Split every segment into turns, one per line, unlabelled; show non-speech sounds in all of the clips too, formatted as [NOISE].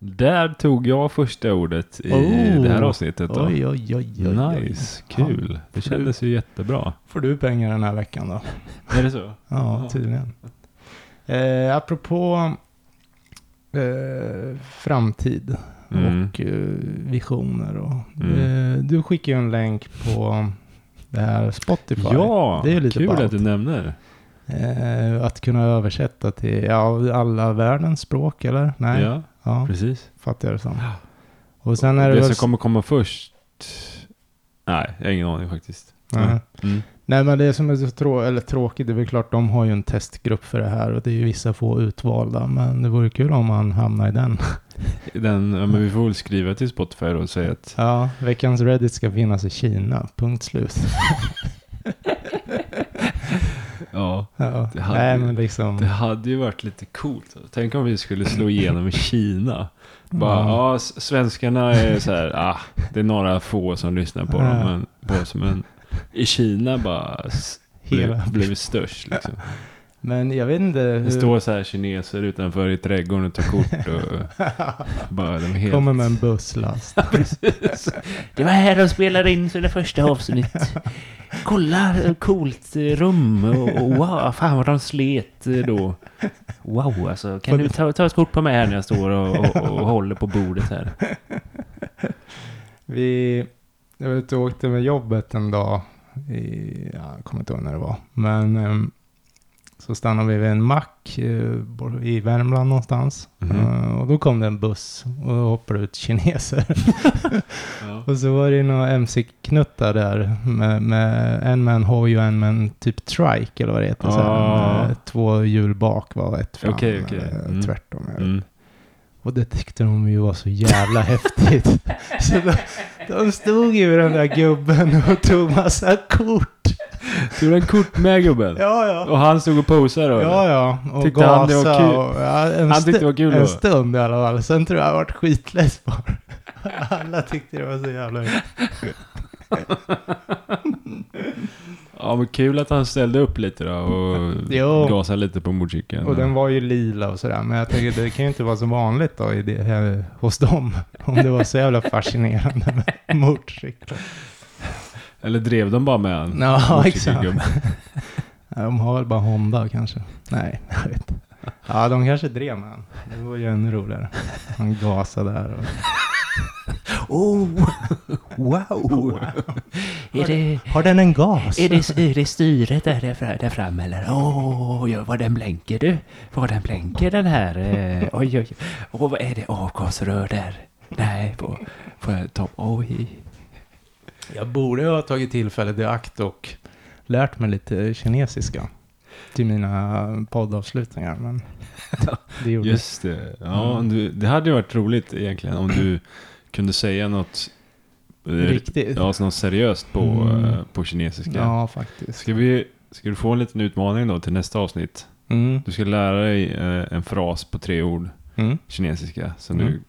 Där tog jag första ordet i
Oh.
det här avsnittet. Då.
Oj, oj, oj, oj, oj.
Nice, kul. Det kändes ju jättebra.
Får du pengar den här veckan då?
Är det så?
Ja,
Ja.
tydligen. Eh, apropå eh, framtid
Mm.
och eh, visioner. Och,
Mm.
eh, du skickade ju en länk på det här Spotify.
Ja,
Det är ju lite
kul
ballt.
att du nämner.
Eh, att kunna översätta till ja, alla världens språk, eller? Nej, ja.
Ja, precis.
fattar jag det som. Och sen är det,
det
väl...
som kommer komma först. Nej, jag har ingen aning faktiskt.
Nej.
Mm.
Nej, men det som är så trå eller tråkigt, det är väl klart de har ju en testgrupp för det här och det är ju vissa få utvalda, men det vore kul om man hamnar i
[LAUGHS]
den.
Den, ja, men vi får väl skriva till Spotify då och säga att
Ja, [LAUGHS] veckans Reddit ska finnas i Kina, punkt
[LAUGHS]
slut.
ja,
Ja.
Det hade-
Nej, men liksom...
det hade ju varit lite coolt. Tänk om vi skulle slå igenom i Kina. Bara,
ja.
ja, s- svenskarna är så här, ah, det är några få som lyssnar på
Ja.
dem, men, på oss, men i Kina bara s-
Hela.
blev, blev störst liksom.
Men jag vet inte [LAUGHS]
Det
hur...
står så här kineser utanför i trädgården och tar kort
[LAUGHS]
och bara, de är helt...
Kommer med en busslast.
Det var här de spelade in sina första avsnitt. Kolla, eh, coolt eh, rum och och wow, fan vad de slet eh, då. Wow, alltså. Kan du ta, ta ett kort på mig här när jag står och, och, och håller på bordet här?
Vi jag var ute och åkte med jobbet en dag. I, ja, jag kommer inte ihåg när det var. Men ehm, så stannade vi vid en mack eh, bor- i Värmland någonstans.
Mhm.
Eh, och då kom det en buss och då hoppade ut kineser. [LAUGHS]
Ja.
och så var det ju några mc-knuttar där. Med, med en med en hoj och en med en typ trike eller vad det heter. Så här,
Ah.
med två hjul bak var ett fram.
Okej, okej.
eller
Mm.
Tvärtom. jag vet
Mm.
och det tyckte de ju var så jävla häftigt. Så de, de stod ju vid den där gubben och tog massa kort.
Tog du en kort med gubben?
Ja, ja.
Och han stod och posade då?
Ja, ja. Och
Tyckte han det var
gasade
kul?
Och, ja, en
Han tyckte det var kul
En
då?
stund i alla fall. Sen tror jag han vart skitless på det. [LAUGHS] Alla tyckte det var så jävla kul.
Ja men kul att han ställde upp lite då och
Jo.
gasade lite på motorcykeln.
Och den var ju lila och sådär. Men jag tänker det kan ju inte vara så vanligt då i det, här, hos dem. Om det var så jävla fascinerande med motorcyklar.
Eller drev de bara med han?
Ja, exakt.
motorcykelgubben?
Nej, de har väl bara Honda kanske. Nej, [LAUGHS] jag vet inte. Ja, de kanske drev med han. Det var ju ännu roligare. Han gasade där och...
Oh, wow. Är det,
Har den en gas?
är det, är det styret där, där fra- där fram eller? Åh, oh, vad den blänker du. Vad den blänker den här. Eh, oj, oj. Åh, vad är det? Avgasrör där. Nej, på, på topp. Oj.
Jag borde ju ha tagit tillfället i akt och lärt mig lite kinesiska till mina poddavslutningar, men det gjorde Just.
Just det. Ja, om du, det hade ju varit roligt egentligen om du kunde säga något, eh,
riktigt.
ja, alltså något seriöst på,
Mm.
eh, på kinesiska.
Ja, faktiskt.
Ska, vi, ska du få en liten utmaning då till nästa avsnitt?
Mm.
Du ska lära dig eh, en fras på tre ord
Mm.
kinesiska som
Mm.
du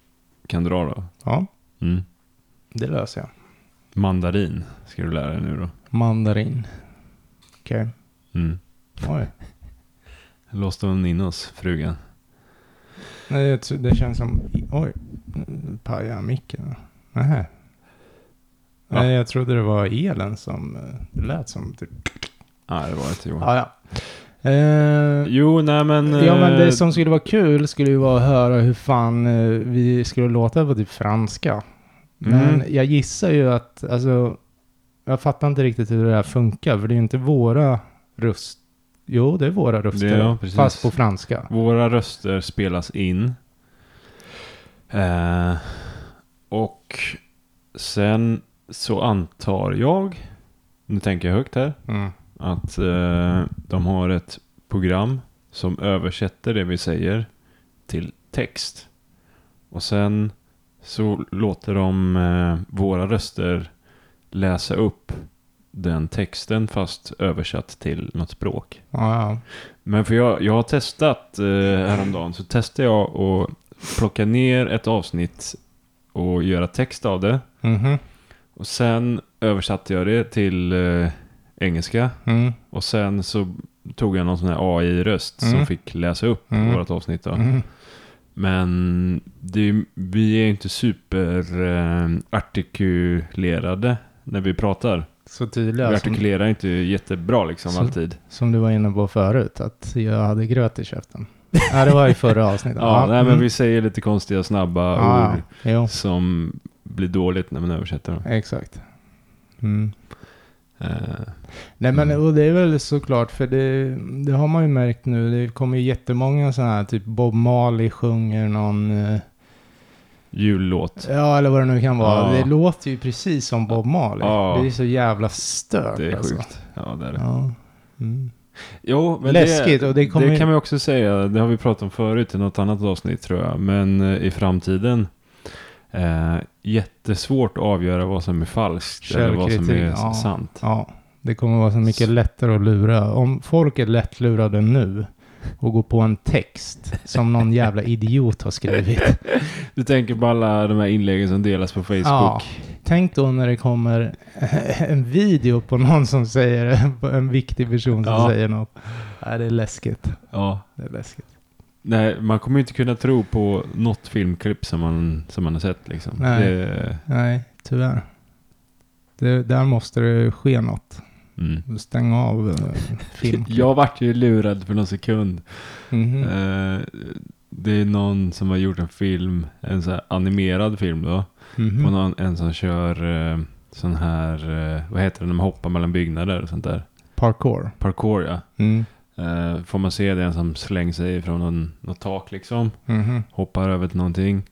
kan dra då.
Ja,
Mm.
det löser jag.
Mandarin ska du lära dig nu då.
Mandarin. Okej.
Mm.
Oj.
Låste hon in oss, frugan?
Nej, det, det känns som... Oj, nu pajade jag micken. Nähä.
Ja.
Nej, jag trodde det var elen som... eh, Det lät som typ...
Nej, det var inte Johan.
Ah, ja. Eh,
Jo, nej men...
ja, men det
eh,
som skulle vara kul skulle ju vara att höra hur fan eh, vi skulle låta på typ franska. Men
Mm.
jag gissar ju att... Alltså, jag fattar inte riktigt hur det här funkar, för det är ju inte våra röst... Jo, det är våra röster,
Det- ja, precis.
fast på franska.
Våra röster spelas in. Eh, och sen så antar jag, nu tänker jag högt här,
Mm.
att eh, de har ett program som översätter det vi säger till text. Och sen så låter de eh, våra röster läsa upp den texten fast översatt till något språk.
Ja, ja.
Men för jag, jag har testat eh, häromdagen, så testade jag att plocka ner ett avsnitt och göra text av det.
Mhm.
Och sen översatte jag det till eh, engelska.
Mm.
Och sen så tog jag någon sån här AI-röst
Mm.
som fick läsa upp
Mm.
vårt avsnitt. Då.
Mm.
Men det, är ju- vi är ju inte super eh, artikulerade när vi pratar.
Så
vi
tydliga som,
artikulerar inte jättebra liksom
alltså- Så-
alltid.
som du var inne på förut, att jag hade gröt i
[LAUGHS]
käften. Ja, det var i förra avsnittet.
Ja, nej, men
mm.
vi säger lite konstiga snabba ord.
ja, ja. Jo,
som blir dåligt när man översätter dem.
exakt. Mm.
Eh,
Nej men
Mm.
och det är väl såklart för det, det har man ju märkt nu. Det kommer ju jättemånga sådana här typ Bob Marley sjunger någon, eh,
jullåt.
ja eller vad det nu kan vara.
Ja.
Det låter ju precis som Bob Marley.
Ja.
Det är så jävla stört
Det är
alltså.
sjukt. Ja, det är det.
Ja. Mm.
Jo, men
Läskigt,
det,
och det kommer ju-
kan man ju också säga. Det har vi pratat om förut i något annat avsnitt tror jag. Men eh, i framtiden. Eh, jättesvårt att avgöra vad som är falskt eller vad som är
Källkritik, ja.
sant.
ja, det kommer vara så mycket lättare att lura. Om folk är lättlurade nu och går på en text som någon jävla idiot har skrivit.
Du tänker på alla de här inläggen som delas på Facebook.
Tänk då när det kommer [LAUGHS] en video på någon som säger, på en viktig person som
Ja.
säger något. Nej, det är läskigt.
Ja.
Det är läskigt.
Nej, man kommer ju inte kunna tro på något filmklipp som man, som man har sett liksom.
Nej.
Det,
Nej, tyvärr. Det, där måste det ske något.
mm.
Stäng av eh, film.
Jag vart ju lurad för någon sekund.
Mhm.
Eh, det är någon som har gjort en film, en så här animerad film då.
Mhm.
På någon, en som kör eh, sån här, eh, vad heter det när man hoppar mellan byggnader och sånt där?
Parkour.
Parkour ja.
Mm.
Eh, får man se det en som slänger sig från någon, något tak liksom.
Mhm.
Hoppar över till någonting.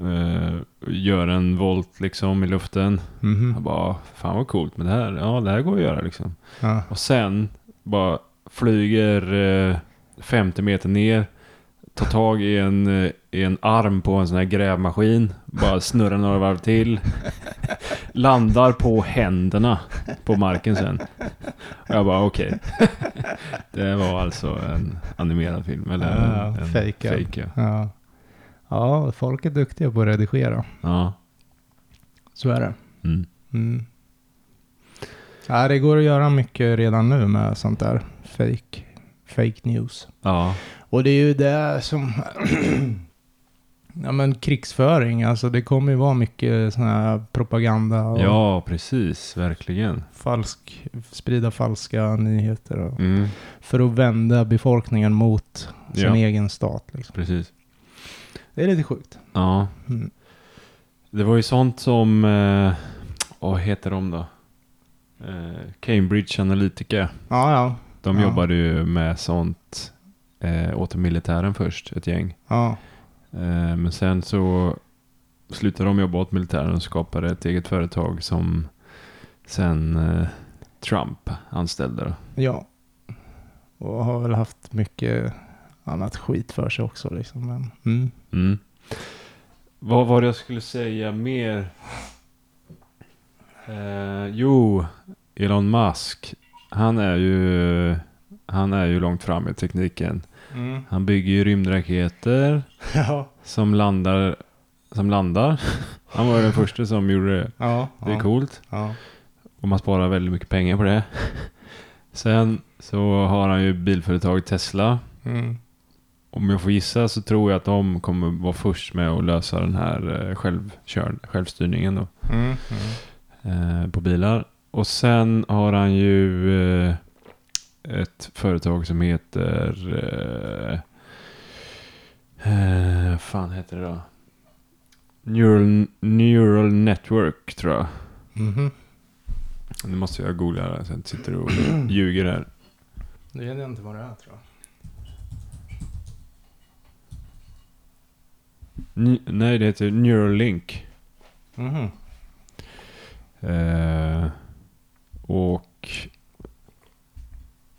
Eh, gör en volt liksom i luften.
Mhm.
Jag bara, fan vad coolt med det här. Ja, det här går att göra liksom.
Ja.
Och sen bara flyger eh, 50 meter ner. Tar tag i en, eh, i en arm på en sån här grävmaskin. Bara snurrar några varv till. Landar på händerna på marken sen. Och jag bara okej. [LAUGHS] Det var alltså en animerad film. Eller
Ja,
en, en
fejkad.
fejk, ja.
Ja. ja, folk är duktiga på att redigera.
ja.
Så är det.
Mm.
Mm. Ja, det går att göra mycket redan nu med sånt där fake, fake news.
ja.
Och det är ju det som... [CLEARS THROAT] ja, men krigsföring, alltså det kommer ju vara mycket sån här propaganda och
Ja, precis. Verkligen.
falsk, sprida falska nyheter. Och,
Mm.
För att vända befolkningen mot sin
Ja.
egen stat. Liksom.
Precis.
Det är lite sjukt.
Ja.
Mm.
Det var ju sånt som, eh, vad heter de då? Eh, Cambridge Analytica.
Ja, ja.
De
Ja.
jobbade ju med sånt eh, åt militären först, ett gäng.
ja.
Eh, men sen så slutade de jobba åt militären och skapade ett eget företag som sen eh, Trump anställde. Då.
Ja. Och har väl haft mycket annat skit för sig också. Liksom. Men, mm.
Mm. Vad var det jag skulle säga mer? Eh, jo, Elon Musk. Han är ju han är ju långt fram i tekniken.
Mm.
Han bygger ju rymdraketer
[LAUGHS] Ja.
som landar. Som landar. [LAUGHS] Han var ju den första som gjorde det.
Ja.
Det är
ja,
coolt.
Ja.
Och man sparar väldigt mycket pengar på det. [LAUGHS] Sen så har han ju bilföretaget Tesla.
Mm.
Om jag får gissa så tror jag att de kommer vara först med att lösa den här eh, självkör, självstyrningen då,
Mm. Mm.
eh, på bilar. Och sen har han ju eh, ett företag som heter... Eh, eh, vad fan heter det då? Neural, Neural Network tror jag.
Mhm.
Nu måste jag googla det här så jag inte sitter och ljuger här.
Nu vet jag inte vad det är tror jag.
Ny- nej, det heter Neuralink.
Mhm.
Eh, och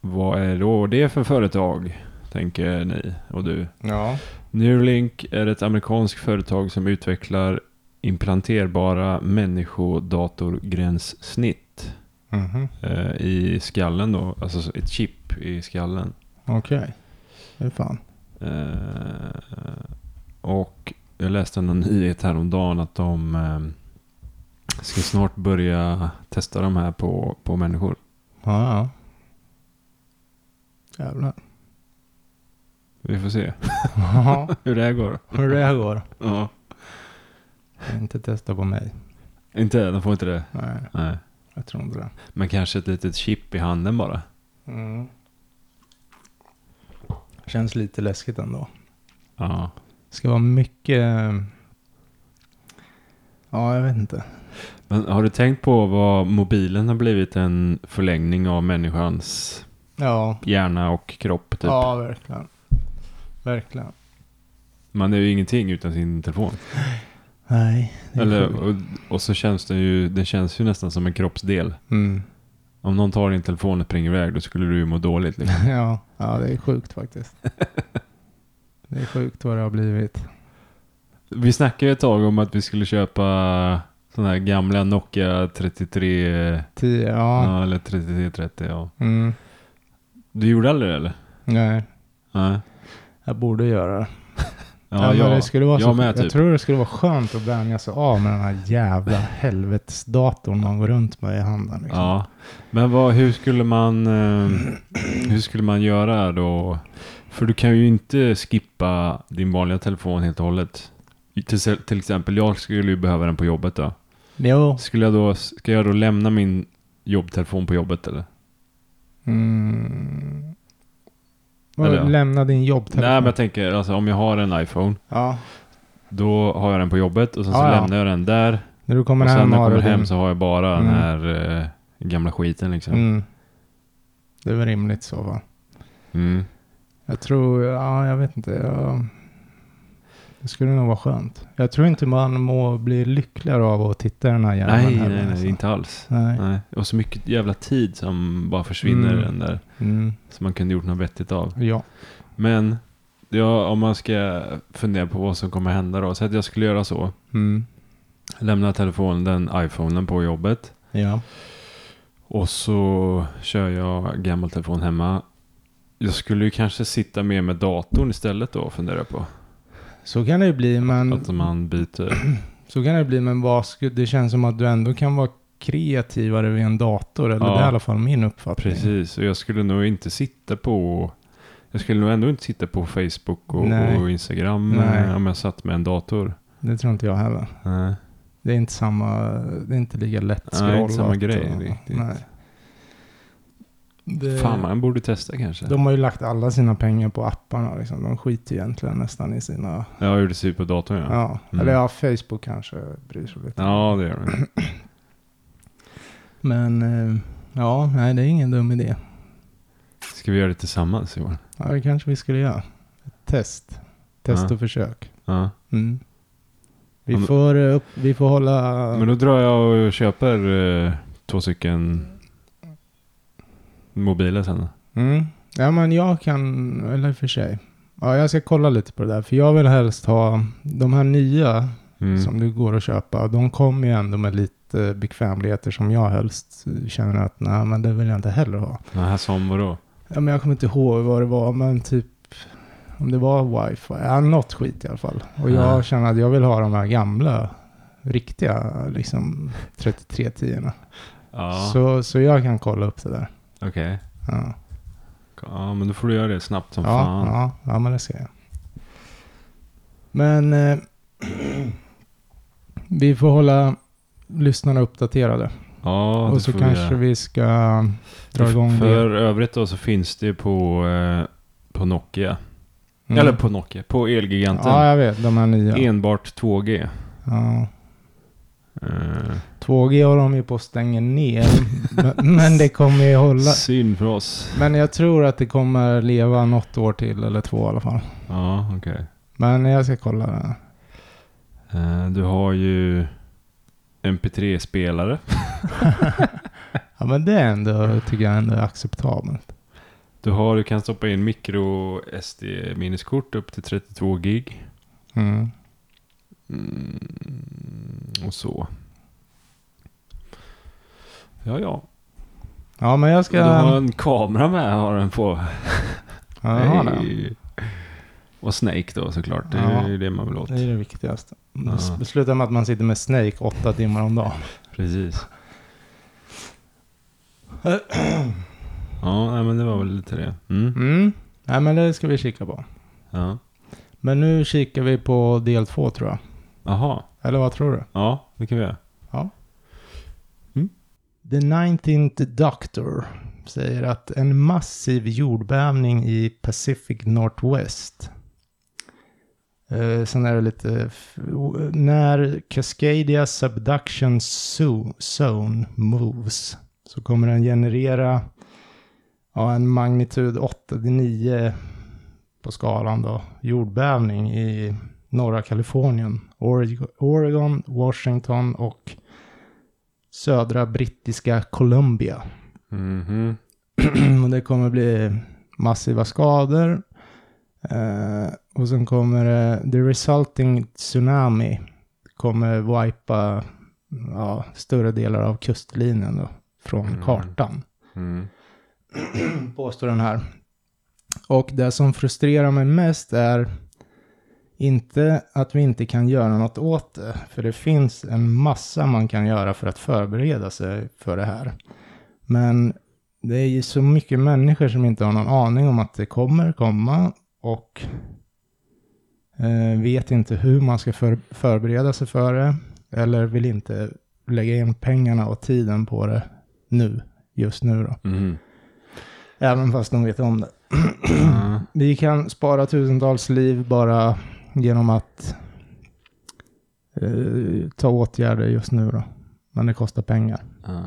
vad är då det för företag? tänker ni och du.
Ja.
Neuralink är ett amerikanskt företag som utvecklar implanterbara människodatorgränssnitt
Mhm.
eh, i skallen då, alltså ett chip i skallen.
Okej. Hur fan.
Eh, och jag läste någon nyhet häromdagen att de eh, ska snart börja testa de här på, på människor.
Ja, ja. Jävlar. [LAUGHS]
Vi får se
Ja,
hur det här går.
hur det här går.
Ja.
Inte testa på mig.
Inte? De får inte det?
Nej,
Nej.
jag tror inte det.
Men kanske ett litet chip i handen bara.
Mm. Känns lite läskigt ändå.
Ja.
Ska vara mycket... Ja, jag vet inte.
Men har du tänkt på vad mobilen har blivit en förlängning av människans
Ja,
hjärna och kropp? Typ?
ja verkligen. Verkligen.
Man är ju ingenting utan sin telefon.
Nej, det är
Eller,
sjukt.
och, och så känns den ju, den känns ju nästan som en kroppsdel.
Mm.
[LAUGHS] Om någon tar din telefon och springer iväg, då skulle du ju må dåligt. Liksom.
ja, ja, det är sjukt faktiskt. [LAUGHS] det är sjukt vad det har blivit.
Vi snackade ju ett tag om att vi skulle köpa sådana här gamla Nokia 33
Tio, ja.
ja. eller 3330. Ja.
Mm.
Du gjorde aldrig det eller?
Nej,
Nej.
jag borde göra det.
Ja,
men
ja,
det skulle vara
jag
så,
med typ.
jag liksom- tror det skulle vara skönt att vänja sig av med den här
[LAUGHS]
jävla helvetesdatorn man går runt med i handen. Liksom.
Ja, men vad, hur skulle man eh, hur skulle man göra då? För du kan ju inte skippa din vanliga telefon helt och hållet. Till, till exempel, jag skulle ju behöva den på jobbet då.
Jo.
Skulle jag då, ska jag då lämna min jobbtelefon på jobbet eller?
Mm.
Eller ja.
Eller, lämna din
Nej,
jobbtelefon.
men jag tänker alltså om jag har en iPhone,
ja.
då har jag den på jobbet och sen så
Ja, ja.
lämnar jag den där.
När du kommer
och sen
hem
när jag
har
kommer
du
hem
din-
så har jag bara den
Mm.
här eh, gamla skiten liksom. Mm.
Mm. Det är väl rimligt så va?
Mm.
Jag tror, ja jag vet inte. Jag... Det skulle nog vara skönt. Jag tror inte man må bli lyckligare av att titta i den här hjärnan.
Nej,
heller,
nej, nej,
alltså.
inte alls.
Nej.
Nej. Och så mycket jävla tid som bara försvinner i
Mm.
den där.
Mm.
Som man kunde gjort något vettigt av.
Ja.
Men ja, om man ska fundera på vad som kommer hända då. Så att jag skulle göra så.
Mm.
Lämna telefonen, den iPhonen på jobbet.
Ja.
Och så kör jag gammal telefon hemma. Jag skulle ju kanske sitta mer med datorn istället då, funderar jag på.
Så kan det ju bli, men
Att man byter.
Så kan det bli, men vad sku, det känns som att du ändå kan vara kreativare vid en dator. Eller
Ja.
det är i alla fall min uppfattning.
Precis, och jag skulle nog inte sitta på... Jag skulle nog ändå inte sitta på Facebook och,
Nej.
och Instagram
Nej.
eh, om jag satt med en dator.
Det tror inte jag heller.
Nej.
Det är inte samma, det är inte lika lätt
Nej, det är inte samma
scrollat
grej
och-
riktigt.
Nej. Det,
Fan, man borde testa kanske.
Eh, de har ju lagt alla sina pengar på apparna. Liksom. De skiter ju egentligen nästan i sina...
Ja, jag gjorde sig på datorn
Ja.
ja. Mm.
Eller ja, Facebook kanske bryr sig lite.
Ja, det gör det.
Men eh, ja, nej, det är ingen dum idé.
Ska vi göra det tillsammans Johan?
Ja, det kanske vi skulle göra. Ett test. Test
Ja.
och försök.
Ja.
Mm. Vi,
Ja, men-
får, eh, upp, vi får hålla...
Men då drar jag och köper eh, två stycken mobiler sen.
Mm. Ja, men jag kan... Eller i och för sig. Ja, jag ska kolla lite på det där. För jag vill helst ha... De här nya
Mm.
som du går att köpa, de kommer ju ändå med lite bekvämligheter som jag helst känner att nej, men det vill jag inte heller ha.
Den här som vadå?
Ja, men jag kommer inte ihåg vad det var, men typ om det var wifi. Ja, något skit i alla fall. Och jag
Ja.
känner att jag vill ha de här gamla, riktiga,
[LAUGHS]
liksom 3310
Ja,
Så, så jag kan kolla upp det där.
okej.
Ja,
Ja, men då får du göra det snabbt som
ja,
fan.
ja, ja men det ska jag. Men eh, [CLEARS THROAT] vi får hålla lyssnarna uppdaterade.
Ja, det
och så
får
kanske
göra.
vi ska dra igång det.
För övrigt då så finns det på, eh, på Nokia.
Mm.
Eller på Nokia, på Elgiganten.
Ja, jag vet. De här nya.
Enbart 2G.
Ja.
Eh,
2G har de ju på att stänga
[LAUGHS]
ner. men, men det kommer ju hålla.
synd för oss.
Men jag tror att det kommer leva något år till eller två i alla fall.
Ja, okej.
Men jag ska kolla det. här.
Eh, Du har ju MP3-spelare.
Ja men det är ändå, tycker jag ändå är acceptabelt.
Du, har, du kan stoppa in mikro SD-minneskort upp till 32 gig.
Mm.
Mm, och så. Ja, ja.
Ja, men jag ska...
Du har en kamera med har den på.
Ja, jag har den.
Hej. Och Snake då såklart. Det
Ja.
är ju det man vill åt.
Det är det viktigaste. Mm.
Ja.
Det slutar med att man sitter med Snake åtta timmar om dagen. [CLEARS THROAT]
Precis. Ja, nej, men det var väl lite det. Mm.
Mm. Nej, men det ska vi kika på.
Ja.
Men nu kikar vi på del två tror jag.
Jaha.
Eller vad tror du?
Ja, det kan vi göra.
The 19th Doctor säger att en massiv jordbävning i Pacific Northwest. Eh, sen är det lite... f- o- När Cascadia Subduction Zo- Zone moves så kommer den generera ja, en magnitud 8-9 på skalan då, jordbävning i norra Kalifornien, Oreg- Oregon, Washington och södra brittiska Columbia. [CLEARS THROAT]
Mhm.
Och det kommer bli massiva skador. Eh, och sen kommer det, the resulting tsunami kommer wipa ja, större delar av kustlinjen då, från
Mm.
kartan
Mm.
[CLEARS THROAT] påstår den här. Och det som frustrerar mig mest är inte att vi inte kan göra något åt det, för det finns en massa man kan göra för att förbereda sig för det här. Men det är ju så mycket människor som inte har någon aning om att det kommer komma och eh, vet inte hur man ska för, förbereda sig för det eller vill inte lägga in pengarna och tiden på det nu, just nu då.
Mhm.
Även fast de vet om det.
Ja.
Vi kan spara tusentals liv bara genom att eh, ta åtgärder just nu då. Men det kostar pengar.
Ja.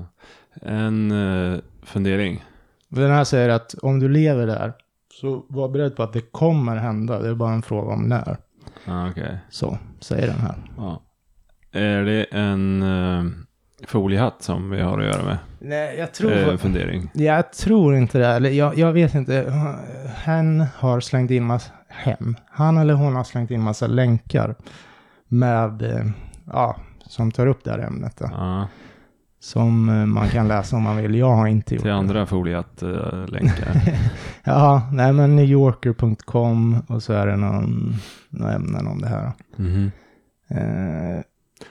En eh, fundering.
Den här säger att om du lever där så var beredd på att det kommer hända. Det är bara en fråga om när.
Ja, okej.
Så säger den här.
Ja. Är det en eh, foliehatt som vi har att göra med?
Nej, jag
Eh, En fundering.
Jag tror inte det. Eller jag, jag vet inte. Hen har slängt in massa... Hen? Han eller hon har slängt in massa länkar. Med... eh, Ja, som tar upp det här ämnet. Då.
Ja.
Som eh, man kan läsa om man vill. Jag har inte gjort
Till
det.
andra foliehatt-länkar.
[LAUGHS] Ja, nej men newyorker.com och så är det någon, några ämnen om det här.
Mhm.
Eh,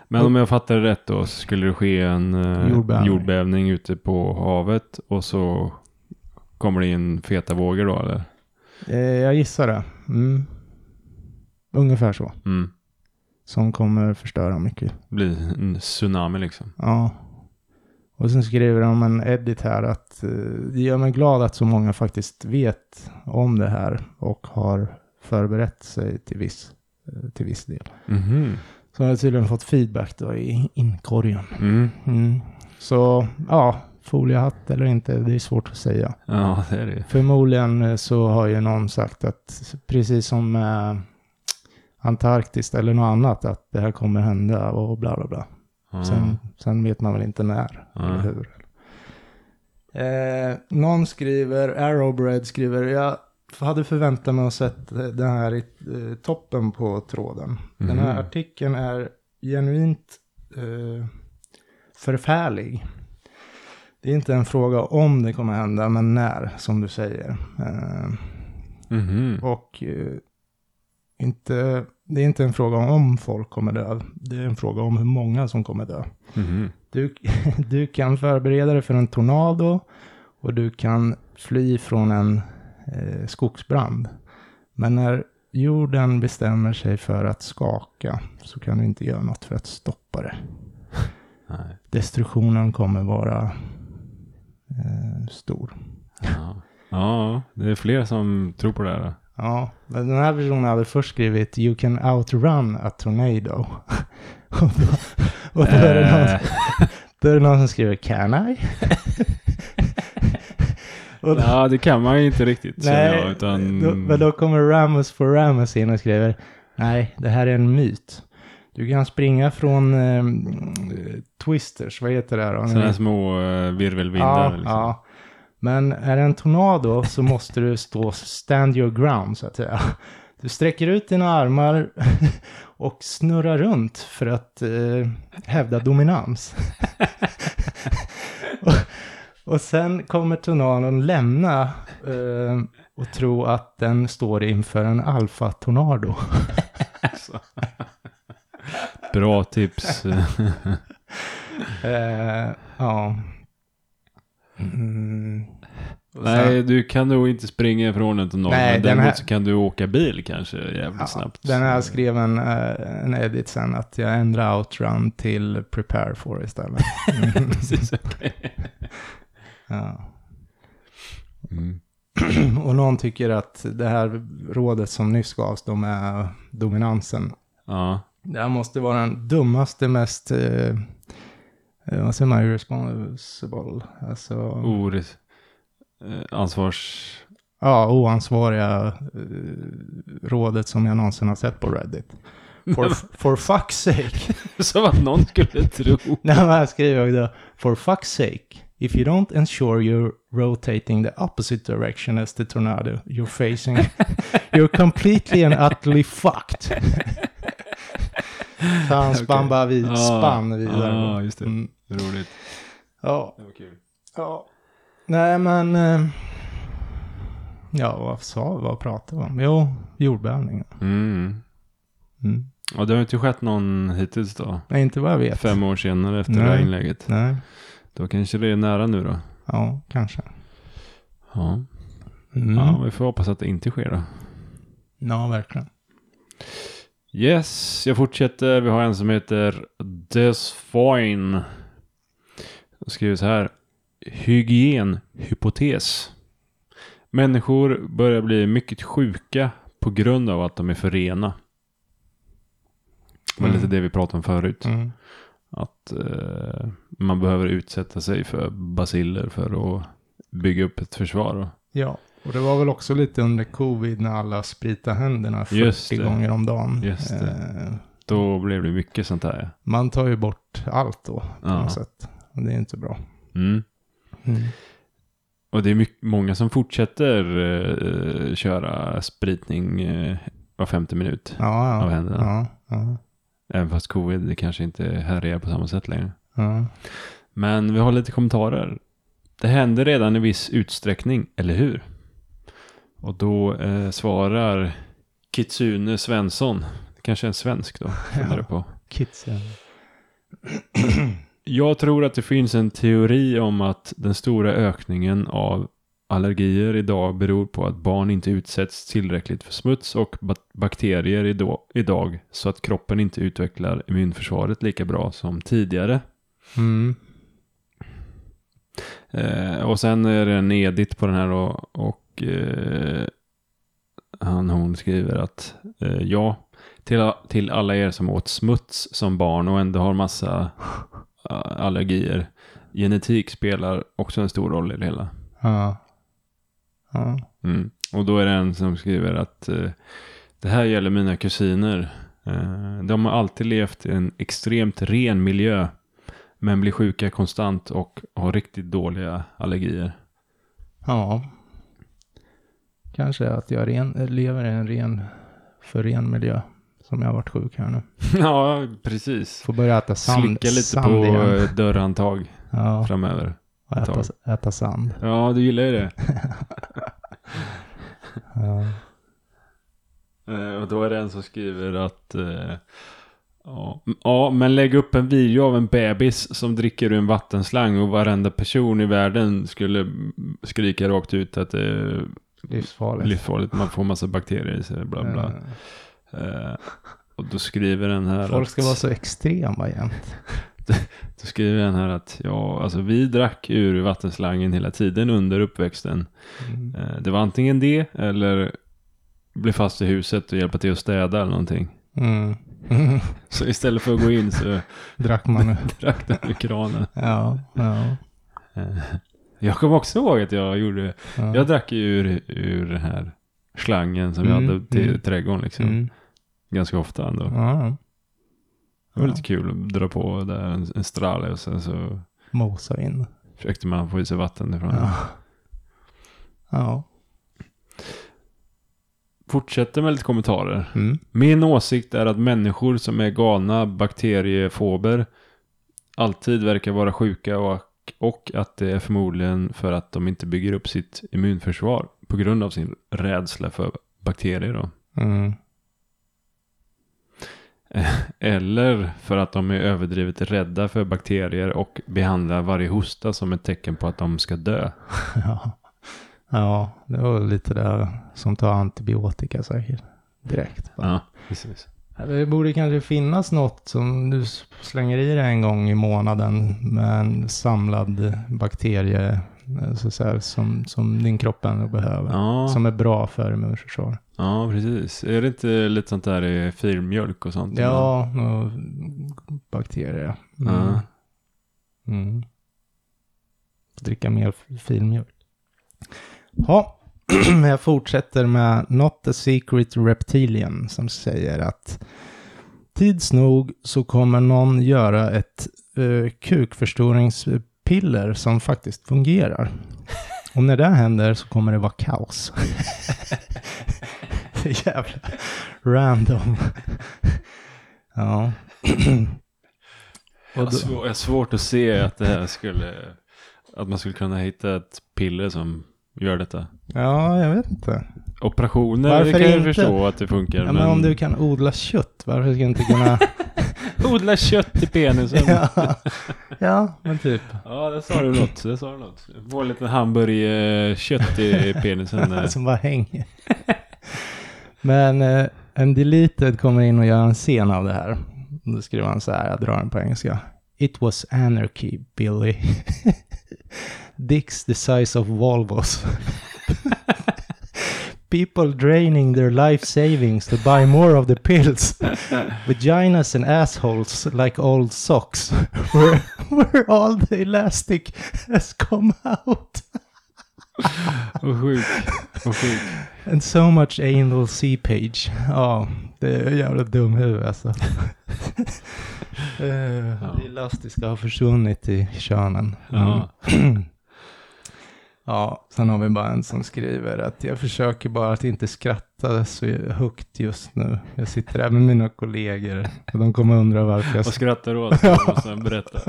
Men om jag fattar det rätt då så skulle det ske en eh,
Jordbävning.
jordbävning ute på havet och så kommer det in feta vågor då eller?
eh, jag gissar det. Mm. Ungefär så.
Mm.
Som kommer förstöra mycket.
Det blir en tsunami liksom.
Ja. Och sen skriver de en edit här att eh, det gör mig glad att så många faktiskt vet om det här och har förberett sig till viss, eh, till viss del.
Mhm.
Så har jag tydligen fått feedback då i inkorgen.
Mm.
Mm. Så ja, foliehatt eller inte, det är svårt att säga.
Ja, det är det ju.
Förmodligen eh, så har ju någon sagt att precis som eh, Antarktis eller något annat, att det här kommer hända och bla bla bla.
Ja.
Sen, sen vet man väl inte när eller
Mm.
hur. Eh, någon skriver, Arrowbread skriver, jag hade förväntat mig att sett eh, den här i eh, toppen på tråden. Den här
Mhm.
artikeln är genuint eh, förfärlig. Det är inte en fråga om det kommer hända, men när, som du säger. Eh,
Mhm.
och eh, inte, det är inte en fråga om folk kommer dö, det är en fråga om hur många som kommer dö.
Mhm.
Du, [LAUGHS] du kan förbereda dig för en tornado och du kan fly från en eh, skogsbrand. Men när jorden bestämmer sig för att skaka så kan du inte göra något för att stoppa det.
Nej.
Destruktionen kommer vara eh, stor.
Ja. ja, det är fler som tror på det här. då.
Ja, men den här personen hade först skrivit You can outrun a tornado. [LAUGHS] och då, och då är det någon
Eh,
Då är det någon som skriver Can I? och då,
Ja, det kan man ju inte riktigt känner jag, utan...
då, men då kommer Ramos for Ramos in och skriver Nej, det här är en myt. Du kan springa från eh, mm, twisters, vad heter det? här då?
Sådana här små eh, virvelvindar
ja,
liksom.
ja. Men är det en tornado
[LAUGHS]
så måste du stå stand your ground så att säga. Du sträcker ut dina armar [LAUGHS] och snurrar runt för att eh, hävda
[LAUGHS]
dominans. och, och sen kommer tornadon lämna eh, och tro att den står inför en alfa-tornado.
[LAUGHS] Bra [LAUGHS] tips.
Eh, ja. Mm.
Nej, du kan nog inte springa ifrån en tornado.
Nej, den
men däremot
här-
så kan du åka bil kanske jävligt
Ja,
snabbt.
Den här skrev en, eh, en edit sen att jag ändrar outrun till prepare for istället. Mm.
[LAUGHS] Precis, [LAUGHS] okej.
ja. [CLEARS THROAT]
Mm.
Och någon tycker att det här rådet som nyss gavs, de är dominansen.
Ja.
Det här måste vara den dummaste, mest, eh, eh, vad säger man, irresponsible, alltså,
Mm. Oris. Eh, ansvars...
ja, oansvariga eh, rådet som jag någonsin har sett på Reddit.
[LAUGHS]
For, for fuck's sake.
Som att någon skulle tro.
Nej, men här skriver jag då, for fuck's sake. If you don't ensure you're rotating the opposite direction as the tornado you're facing, [LAUGHS] you're completely and utterly fucked. [LAUGHS] Så han spann bara vid,
Ah,
spann vidare.
ah, just det.
Mm.
Roligt.
Ja,
Det var kul.
ja. Nej, men... eh, Ja, vad sa Vad pratade vi om? Jo, jordbävningen.
Mm.
Mm.
Ja, det har ju inte skett någon hittills då.
Nej, inte vad jag vet.
Fem år senare efter det
Nej.
här inlägget.
Nej,
Då kanske det är nära nu då.
ja, kanske.
Ja.
Mm.
ja,
Ja,
vi får hoppas att det inte sker då.
verkligen.
Yes, jag fortsätter. Vi har en som heter Desfoin. Då skriver så här. Hygienhypotes. Människor börjar bli mycket sjuka på grund av att de är för rena. Det var
Mm.
lite det vi pratade om förut.
Mm.
Att eh, man behöver utsätta sig för basiller för att bygga upp ett försvar. Och,
Ja, och det var väl också lite under covid när alla spritade händerna 40
Just det.
gånger om dagen.
Just det.
Eh,
då blev det mycket sånt här.
man tar ju bort allt då på
Ja.
något sätt. Och det är inte bra.
Mm. Och det är mycket, många som fortsätter eh, köra spritning eh, var femte minut
Ja,
av
ja.
händerna.
Ja, ja,
Även fast covid kanske inte härjar på samma sätt längre.
ja.
Men vi har lite kommentarer. Det händer redan i viss utsträckning, eller hur? Och då eh, svarar Kitsune Svensson. Kanske en
[LAUGHS]
svensk då, funderar jag på.
Kitsen.
Jag tror att det finns en teori om att den stora ökningen av allergier idag beror på att barn inte utsätts tillräckligt för smuts och ba- bakterier idag, idag så att kroppen inte utvecklar immunförsvaret lika bra som tidigare.
Mm.
Eh, och sen är det en edit på den här då, och eh, han hon skriver att eh, ja, till, a- till alla er som åt smuts som barn och ändå har massa eh, allergier. Genetik spelar också en stor roll i det hela.
Ja. Ja.
Mm. Och då är det en som skriver att eh, det här gäller mina kusiner. Eh, de har alltid levt i en extremt ren miljö men blir sjuka konstant och har riktigt dåliga allergier.
ja. Kanske att jag ren, lever i en ren, för ren miljö. Som jag har varit sjuk här nu.
[LAUGHS] Ja, precis.
Får börja äta sand.
Slicka lite
sand
på
igen.
eh, dörrhandtag
Ja,
framöver.
och
ett
äta, äta sand.
Ja, du gillar ju det.
Ja.
Eh, Och då är det en som skriver att eh, ja, m- ja, men lägg upp en video av en bebis som dricker ur en vattenslang och varenda person i världen skulle mm, skrika rakt ut att det är
Livsfarligt.
livsfarligt, man får massa bakterier i sig, bla bla.
Eh,
Eh, Och då skriver den här
Folk ska
att-
vara så extrema jämt.
Då skriver den här att ja, alltså vi drack ur vattenslangen hela tiden under uppväxten.
Mm.
Eh, Det var antingen det eller bli fast i huset och hjälpa till att städa eller någonting.
Mm. [LAUGHS]
Så istället för att gå in så
Drack man nu.
drack de ur kranen.
Ja, ja.
Eh, Jag kommer också ihåg att jag gjorde,
ja.
jag drack ju ur, ur den här slangen som
Mm,
vi hade till
mm.
trädgården liksom.
Mm.
Ganska ofta ändå.
Ja.
Det var lite kul att dra på där en, en stralle och sen så
Mosa in.
försökte man få i sig vatten ifrån den.
Ja. Ja.
Fortsätter med lite kommentarer.
Mm.
Min åsikt är att människor som är galna bakteriefober alltid verkar vara sjuka och, och att det är förmodligen för att de inte bygger upp sitt immunförsvar på grund av sin rädsla för bakterier då.
Mm. [LAUGHS]
Eller för att de är överdrivet rädda för bakterier och behandlar varje hosta som ett tecken på att de ska dö.
Ja. ja, det var lite där som tar antibiotika säkert. Direkt. bara.
Ja, precis.
Ja, Det borde kanske finnas något som du s- slänger i dig en gång i månaden med en samlad bakterie eh, så så här, som, som din kropp ändå behöver.
Ja,
Som är bra för immunförsvar.
ja, precis. Är det inte lite sånt där i filmjölk och sånt?
Ja, och bakterier. Mm.
Ja.
Mm. Dricka mer f- filmjölk. Ja, [CLEARS THROAT] jag fortsätter med Not a Secret Reptilian som säger att tids nog så kommer någon göra ett eh, kukförstoringspiller som faktiskt fungerar. Och när det händer så kommer det vara kaos. [LAUGHS] Jävla random. ja. [CLEARS THROAT]
Jag har svår- jag har svårt att se att det här skulle... Att man skulle kunna hitta ett piller som gör detta.
Ja, jag vet inte.
Operationer
Varför
kan jag
inte?
förstå att det funkar.
Ja, men om du kan odla kött, varför ska jag inte kunna...
Odla kött i penisen. ja.
[LAUGHS] ja. ja, men typ.
ja, där sa du något. Där sa du något. Få lite hamburgerkött i
[LAUGHS]
penisen. eh.
Som bara hänger. men eh, en deleted kommer in och gör en scen av det här. Då skriver han så här, jag drar den på engelska. It was anarchy, Billy. [LAUGHS] Dicks the size of Volvos. [LAUGHS] People draining their life savings to buy more of the pills. Vaginas and assholes, like old socks, [LAUGHS] where, where all the elastic has come out.
Och sjuk. Och sjuk.
And so much anal seepage. Ja, det är jävla dumhuvud alltså. Eh,
[LAUGHS] Ja.
Det elastiska har försvunnit i könen. Mm.
Ja.
[CLEARS THROAT] Ja, sen har vi bara en som skriver att jag försöker bara att inte skratta så högt just nu. Jag sitter här med mina kollegor och de kommer undra varför jag...
Och skrattar åt det och
[LAUGHS]
sen berätta.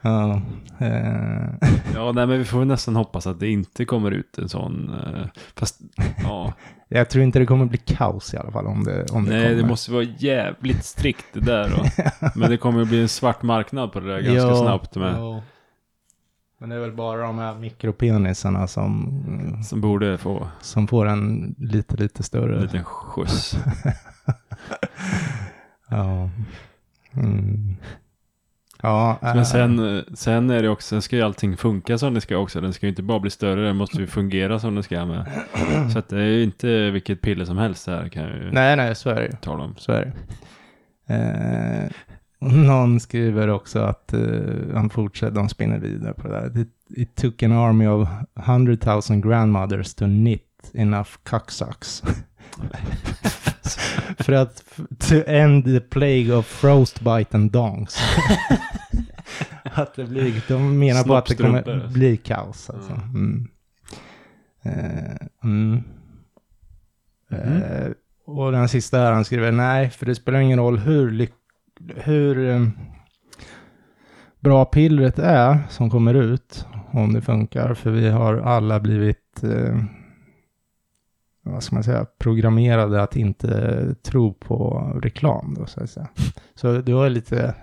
Ja, eh, [LAUGHS]
Ja, nej, men vi får väl nästan hoppas att det inte kommer ut en sån. eh, Fast, ja.
jag tror inte det kommer bli kaos i alla fall om det, om det
Nej,
kommer.
det måste vara jävligt strikt det
[LAUGHS]
där då. Men det kommer att bli en svart marknad på det där ganska
Ja,
snabbt med.
ja. Men det är väl bara de här mikropenisarna som, mm,
Som borde få
som får en lite, lite
en
större.
liten skjuts.
[LAUGHS] Ja. Mm. Ja, äh,
Men sen, eh, sen är det också, sen ska ju allting funka som det ska också. Den ska ju inte bara bli större, den måste ju fungera som den ska med. [CLEARS THROAT] Så att det är ju inte vilket piller som helst det här kan jag ju
äh. nej, nej, så är det ju.
tala om.
Liksom, Så är det. Eh, någon skriver också att eh, han fortsätter, de spinner vidare på det där. It, it took an army of 100 000 grandmothers to knit enough [LAUGHS] cocksucks. För att, to end the plague of frostbite and dongs. att det blir, de menar på att det kommer
Snoppstrumpor.
bli kaos alltså. Mm. Eh, mm. Eh, och den sista här, han skriver nej, för det spelar ingen roll hur, lyck- hur eh, bra pillret är som kommer ut, om det funkar, för vi har alla blivit, eh, vad ska man säga, programmerade att inte tro på reklam. Då, så, att säga. så det var lite,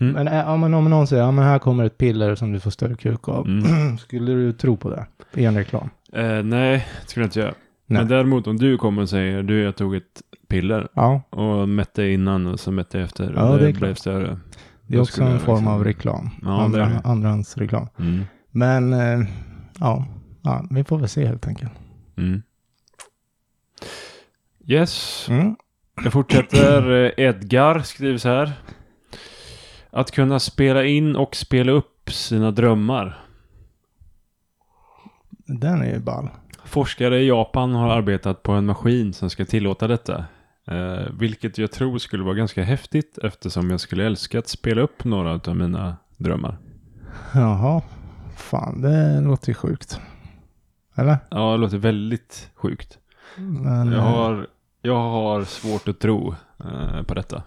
Mm.
men, eh, ja, men om någon säger, ja men här kommer ett piller som du får större kuk av,
Mm.
skulle du tro på det i en reklam?
Eh, nej, det skulle jag inte göra.
Nej.
Men däremot om du kommer och säger, du jag tog ett piller
Ja,
och mätte innan och så mätte jag efter.
Ja,
och
det är
det,
klart.
blev större.
det är
Då
också
skulle
en
jag
form
liksom-
av reklam.
Ja, det är
Andra,
det.
andrahandsreklam.
Mm.
Men eh, ja, ja, vi får väl se helt enkelt.
Mm. Yes,
Mm.
Jag fortsätter. Eh, Edgar skriver så här. Att kunna spela in och spela upp sina drömmar.
Den är ju ball.
Forskare i Japan har arbetat på en maskin som ska tillåta detta. Eh, vilket jag tror skulle vara ganska häftigt eftersom jag skulle älska att spela upp några av mina drömmar.
Jaha. Fan, det låter ju sjukt. Eller?
Ja, det låter väldigt sjukt.
Men,
Jag
eh,
har, jag har svårt att tro eh, på detta.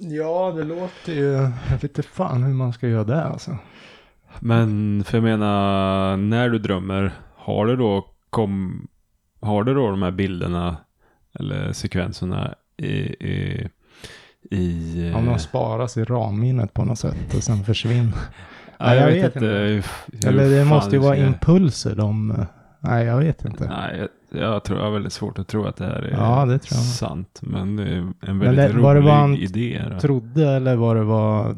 Ja, det låter ju... Jag vet inte fan hur man ska göra det alltså.
Men för jag menar, när du drömmer, har du då, kom, har du då de här bilderna eller sekvenserna i, i, i
Om
eh,
de sparas i ramminnet på något sätt och sen försvinner.
ja, jag,
jag
vet
vet
inte. Hur, hur
Eller det
fan
måste ju
du
vara
ska-
impulser de... eh, Nej, jag vet inte.
Nej, jag, jag tror jag har väldigt svårt att tro att det här är
Ja, det tror jag.
sant. Men det är en väldigt
det-
rolig
var det bara en-
idé. då.
Trodde eller vad det var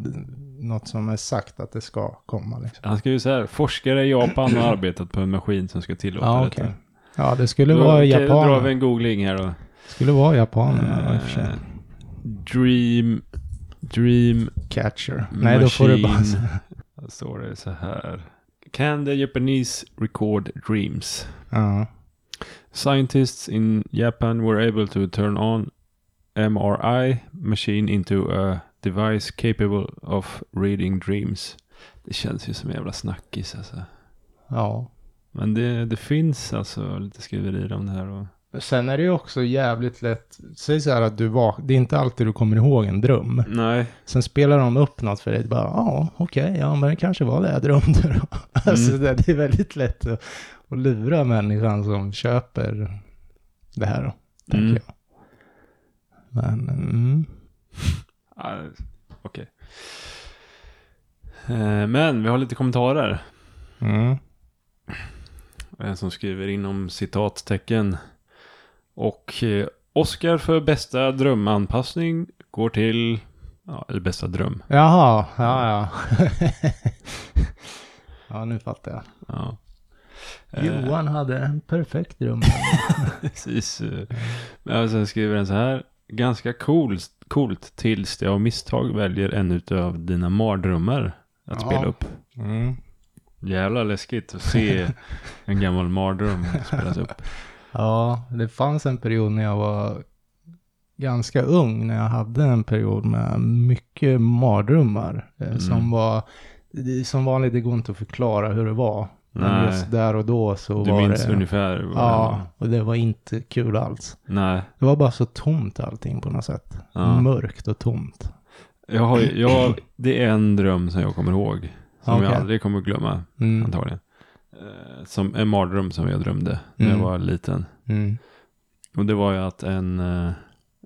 något som är sagt att det ska komma liksom.
Han ska ju så här, forskare i Japan har arbetat på en maskin som ska tillåta
Ja,
detta.
okej. Ja, det skulle
Då-
vara
okej, Då drar vi
japaner.
en googling här då.
Skulle vara japanerna i och för
Eh,
sig.
Dream... Dream
Catcher. Nej, då får du bara...
Machine. Då står det så här. Can the Japanese record dreams?
[LAUGHS] Ja.
Scientists in Japan were able to turn on MRI machine into a device capable of reading dreams. Det känns ju som en jävla snackis alltså.
ja.
Men det, det finns alltså lite skriverier om det här. Och,
Sen är det ju också jävligt lätt. Säg så här att du var, det är inte alltid du kommer ihåg en dröm.
nej,
Sen spelar de upp något för dig. Bara, ja, okej, ja, men det kanske var det jag drömde då. [LAUGHS] Alltså, det, det är väldigt lätt att, att lura människan som köper det här då, tänker
Mm.
jag. Men, mm,
Ah, Okej. Eh, Men vi har lite kommentarer.
mm,
En Eh, som skriver inom citattecken. Och eh, Oscar för bästa drömanpassning går till ja, i bästa dröm.
jaha, ja, ja. [LAUGHS] ja, nu fattar jag.
Ja. Eh,
Johan hade en perfekt dröm.
Precis. eh. Men sen skriver den så här. Ganska cool, coolt tills det av misstag väljer en utav dina mardrömmar att
Ja.
spela upp.
Mm.
Jävla läskigt att se
[LAUGHS]
en gammal mardröm spelas upp.
Ja, det fanns en period när jag var ganska ung, när jag hade en period med mycket mardrömmar. eh,
Mm.
Som var, det- som vanligt, det går inte att förklara hur det var. Men
Nej.
just där och då så
Du
var
minns
det...
ungefär? vad det var.
Ja, och det var inte kul alls.
Nej.
Det var bara så tomt allting på något sätt.
Ja.
Mörkt och tomt.
Jag har, ju- jag, det är en dröm som jag kommer ihåg. Som jag
Okej.
aldrig kommer att glömma
Mm.
antagligen. Eh, Som en mardröm som jag drömde när
Mm.
jag var liten.
Mm.
Och det var ju att en, eh,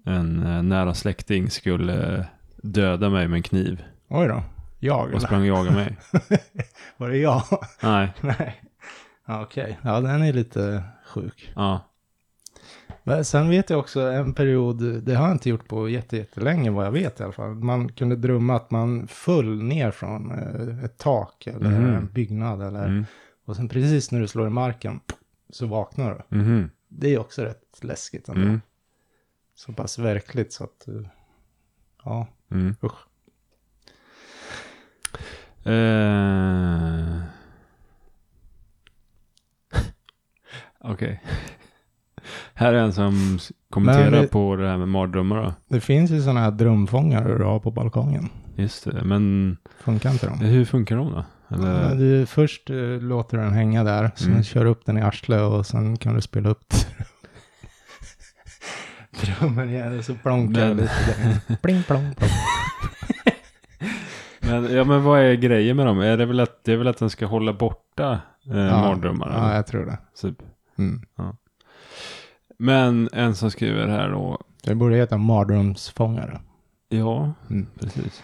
en eh, nära släkting skulle eh, döda mig med en kniv.
Oj då. Jag
Och
eller?
sprang och
[LAUGHS]
jagade mig.
Var det jag? [LAUGHS]
Nej,
Nej. Ja, Okej, ja den är lite sjuk.
ja.
Men sen vet jag också en period, det har jag inte gjort på jätte- jättelänge vad jag vet i alla fall. Man kunde drömma att man föll ner från eh, ett tak eller
Mhm.
en byggnad eller.
Mm.
Och sen precis när du slår i marken så vaknar du.
Mhm.
Det är också rätt läskigt ändå.
Mm.
Så pass verkligt så att, eh, ja,
Mm.
usch.
Eh. [LAUGHS] Okej. Här är en som s- kommenterar
Men vi-
på det här med mardrömmar då.
Det finns ju sådana här drömfångare du har på balkongen.
Just det, men
Funkar inte de?
hur funkar de då? Eller,
Men Du, först eh, låter du den hänga där, sen
Mm.
kör du upp den i arslet och sen kan du spela upp [LAUGHS] drömmen igen och så plonkar den
Men-
lite
[LAUGHS]
där. Pling plong plong.
men, ja, men vad är grejen med dem? Är det, väl att, det är väl att den ska hålla borta eh, mardrömmar?
Ja,
eller?
jag tror det.
Typ.
Mm.
Men en som skriver här då.
Det borde heta mardrömsfångare.
Ja,
Mm.
precis.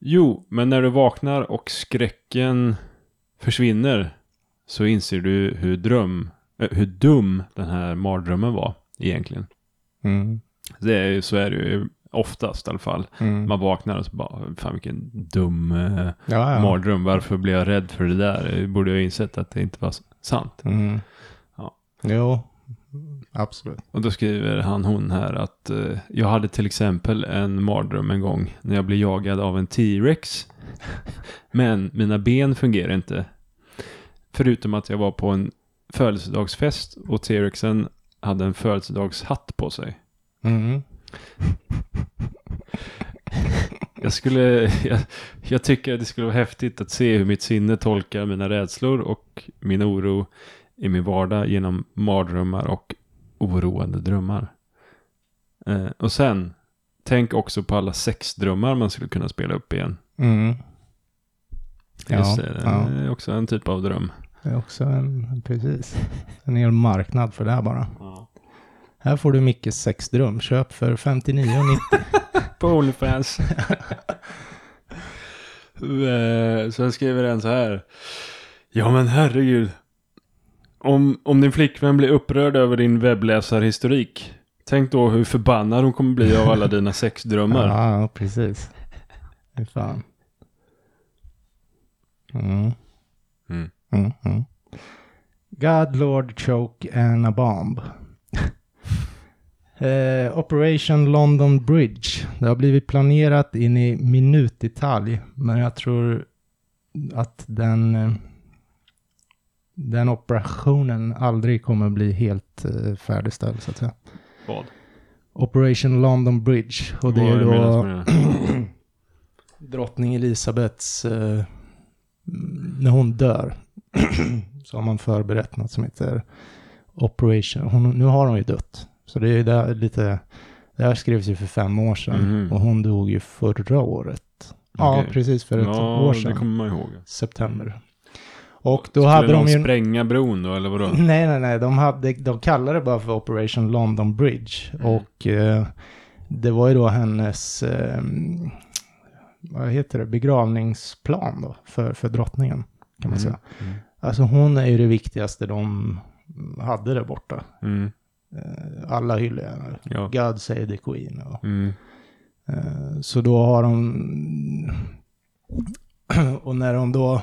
Jo, men när du vaknar och skräcken försvinner så inser du hur, dröm, eh, hur dum den här mardrömmen var egentligen.
Mm.
Det är, ju- så är det ju oftast i alla fall.
Mm.
Man vaknar och så bara, fan vilken dum eh,
ja, ja.
mardröm. Varför blev jag rädd för det där? Jag borde jag ha insett att det inte var s- sant.
Mm.
Ja.
Jo, Mm, absolut.
Och då skriver han hon här att eh, jag hade till exempel en mardröm en gång när jag blev jagad av en T-Rex. [LAUGHS] Men mina ben fungerar inte. Förutom att jag var på en födelsedagsfest och T-Rexen hade en födelsedagshatt på sig.
Mm.
Jag, skulle, [LAUGHS] jag, jag tycker att det skulle vara häftigt att se hur mitt sinne tolkar mina rädslor och min oro i min vardag genom mardrömmar och oroande drömmar. Eh, och sen, tänk också på alla sexdrömmar man skulle kunna spela upp igen.
Mm. Ja,
Just det, den
ja.
är också en typ av dröm.
Det är också en, precis, en hel marknad för det här bara. Här får du Mickes sexdröm, köp för 59,90.
På Onlyfans. Eh, Sen skriver den så här. Ja men herregud. Om, om din flickvän blir upprörd över din webbläsarhistorik. Tänk då hur förbannad hon kommer bli av alla dina sexdrömmar.
ja, ja, precis. Fy fan. Mm.
Mm.
Mm, mm. God, Lord, Choke and a Bomb. [LAUGHS] eh, Operation London Bridge. Det har blivit planerat in i minutdetalj, men jag tror att den, eh, den operationen aldrig kommer bli helt eh, färdigställd, så att säga.
Vad?
Operation London Bridge. Och det är
Vad
då...
menas med det?
drottning Elisabeths, eh, mm, när hon dör, [CLEARS THROAT] så har man förberett något som heter Operation. Hon, nu har hon ju dött. Så det är ju där lite, det här skrevs ju för fem år sedan
Mhm.
och hon dog ju förra året. Ja,
Okej.
precis för ett
Ja,
år
det
sedan.
kommer man ihåg.
September. Och då
Skulle
hade de
någon
ju... Mm.
spränga bron då, eller vadå?
Nej, nej, nej. De, hade, de kallade det bara för Operation London Bridge.
Mm.
Och eh, det var ju då hennes, eh, vad heter det, begravningsplan då för, för drottningen. Kan man
Mm,
säga.
mm.
Alltså hon är ju det viktigaste de hade där borta.
Mm,
Eh, Alla hyllar henne.
ja.
God save the Queen. Och,
Mm,
Eh, Så då har de... [CLEARS THROAT] Och när de då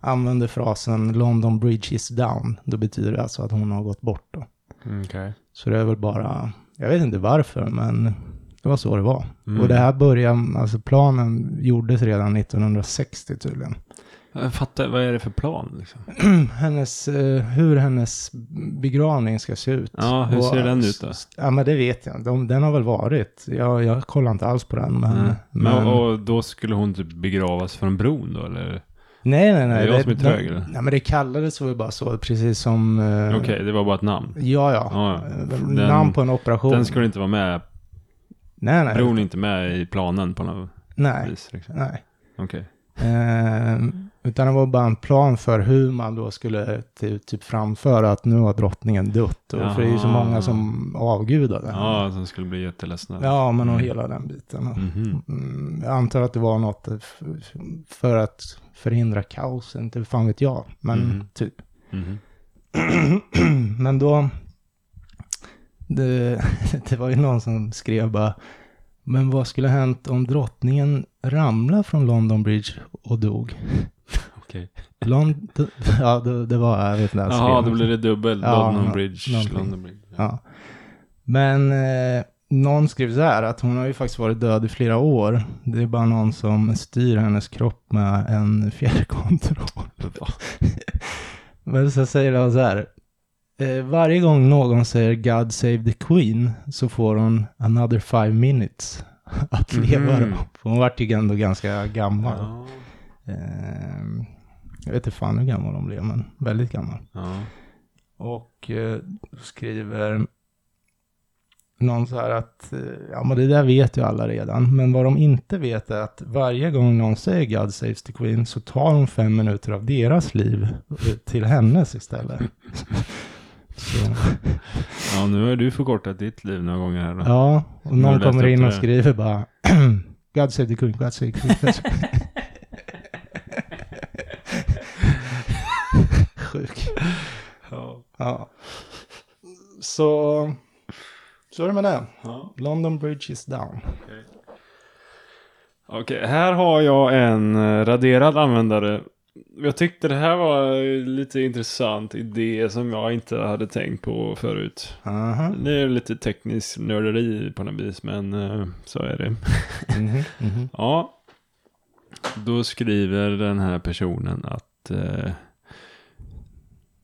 använder frasen London Bridge is down, då betyder det alltså att hon har gått bort. Då.
mm, okej.
Så det är väl bara, jag vet inte varför, men det var så det var.
Mm.
Och det här började, alltså planen gjordes redan 1960 tydligen.
Mm. Jag fattar, vad är det för plan liksom?
hennes, eh, hur hennes begravning ska se ut.
Ja, hur ser den ut då?
Ja, men det vet jag. De, den har väl varit. Jag, jag kollar inte alls på den, men...
Nej. Mm. Men,
men-
och då skulle hon typ begravas från bron då eller?
Nej, nej, nej.
Är det jag som är trög, eller?
Nej, men det kallades väl bara så, precis som... eh,
Okej, det var bara ett namn.
Ja, ja.
Ja,
Eh,
den-
Namn på en operation.
Den skulle inte vara med,
Nej, nej.
bron är inte med i planen på något
Nej,
vis. Liksom.
nej.
Okej.
Eh, utan det var bara en plan för hur man då skulle ty, typ framföra att nu har drottningen dött. Och, för det är ju så
Jaha.
många som avgudade
Ja, som skulle bli jätteledsna.
ja, men och
Mm.
hela den biten.
Mhm.
Mm, jag antar att det var något eh, f- för att förhindra kaos, inte fan vet jag. Men
Mm.
typ.
Mhm.
[CLEARS THROAT] Men då, det, [LAUGHS] det var ju någon som skrev bara, men vad skulle ha hänt om drottningen ramlade från London Bridge och dog?
Okej.
London, [LAUGHS] ja, det, det var, jag vet inte. jag
Jaha,
skrev.
då blir det dubbel.
Ja,
London
nå-
Bridge.
någonting.
London Bridge.
Ja. Men eh, någon skrev så här att hon har ju faktiskt varit död i flera år. Det är bara någon som styr hennes kropp med en [LAUGHS] fjärrkontroll.
Va?
[LAUGHS] Men så säger han så här. Eh, varje gång någon säger God save the Queen så får hon another five minutes [LAUGHS] att leva.
Mhm.
då. För Hon vart ju ändå ganska gammal.
Ja.
Eh, jag vet inte fan hur gammal hon blev, men väldigt gammal.
Ja.
Och eh, då skriver någon så här att eh, ja, men det där vet ju alla redan. Men vad de inte vet är att varje gång någon säger God saves the Queen så tar de fem minuter av deras liv eh, till hennes istället. [LAUGHS] så,
ja, nu har du förkortat ditt liv några gånger här då.
ja, och
Nu har
någon
du läst
kommer
upp
in
det
och
här.
skriver bara [CLEARS THROAT] God save the Queen, God save the Queen. God save the Queen. [LAUGHS] Sjuk.
Ja.
Ja. Så, så är det med det.
Ja.
London Bridge is down.
Okej, här har jag en eh, raderad användare. Jag tyckte det här var eh, lite intressant idé som jag inte hade tänkt på förut.
Aha.
Det är lite teknisk nörderi på något vis, men eh, så är det.
Mhm, mhm.
Ja, då skriver den här personen att eh,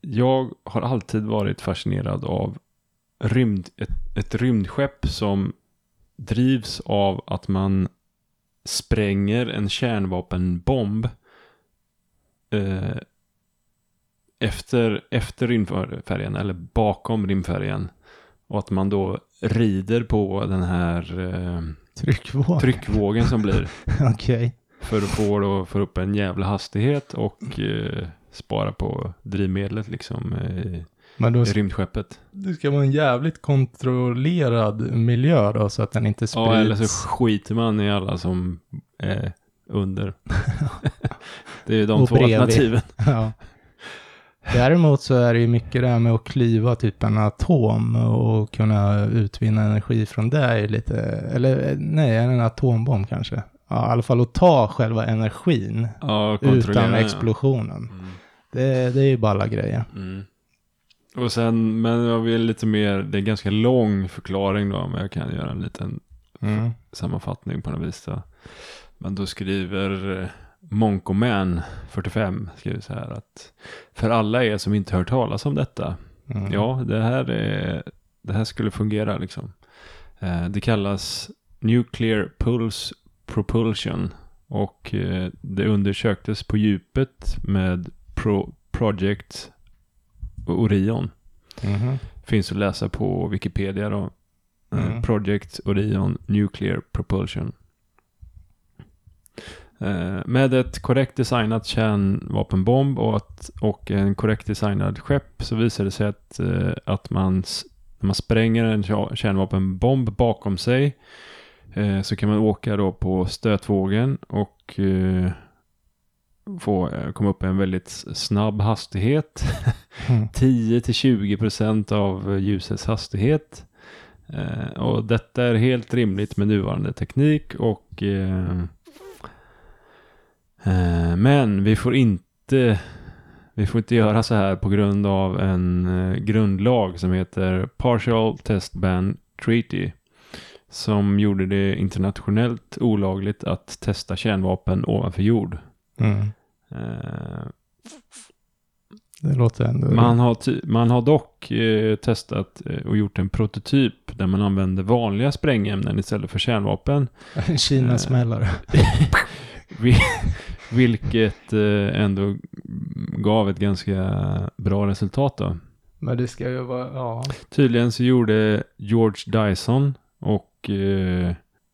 jag har alltid varit fascinerad av rymd, ett, ett rymdskepp som drivs av att man spränger en kärnvapenbomb eh, efter, efter rymdfärjan eller bakom rymdfärjan. Och att man då rider på den här eh,
Tryckvåg.
tryckvågen som blir.
Okej.
För att få då, för upp en jävla hastighet och eh, spara på drivmedlet liksom eh, i
Men då
i rymdskeppet.
det ska vara en jävligt kontrollerad miljö då så att den inte sprids.
Ja, eller så skiter man i alla som är
[LAUGHS]
under. det är ju de
Och
två
bredvid.
alternativen.
Ja. Däremot så är det ju mycket det här med att klyva typ en atom och kunna utvinna energi från det är ju lite, eller nej, en atombomb kanske. Ja, i alla fall att ta själva energin
Ja, och kontrollera,
utan
ja.
explosionen.
Mm.
Det, det är ju balla grejer.
Mm. Och sen, men jag vill lite mer, det är ganska lång förklaring då, men jag kan göra en liten
Mm.
sammanfattning på något vis. Då. Men då skriver eh, Monkoman 45 skriver så här att för alla er som inte hört talas om detta
Mm.
Ja, det här, är, det här skulle fungera liksom. Eh, Det kallas Nuclear Pulse Propulsion och eh, det undersöktes på djupet med Pro Project Orion.
Mhm.
Finns att läsa på Wikipedia då. Eh,
Mm.
Project Orion Nuclear Propulsion. Eh, Med ett korrekt designat kärnvapenbomb och, att, och en korrekt designad skepp så visar det sig att, eh, att man, s- när man spränger en kär- kärnvapenbomb bakom sig eh, så kan man åka då på stötvågen och eh, få eh, komma upp i en väldigt s- snabb hastighet.
Mm.
10-20% av ljusets hastighet. Eh, och detta är helt rimligt med nuvarande teknik och eh, eh, men vi får inte vi får inte göra så här på grund av en eh, grundlag som heter Partial Test Ban Treaty som gjorde det internationellt olagligt att testa kärnvapen ovanför jord.
Mm.
Eh,
Det låter ändå...
Man har, ty- man har dock eh, testat eh, och gjort en prototyp där man använder vanliga sprängämnen istället för kärnvapen.
Kina-smällare.
Vi- vilket eh, ändå gav ett ganska bra resultat då.
Men det ska ju vara, ja.
Tydligen så gjorde George Dyson och... Eh,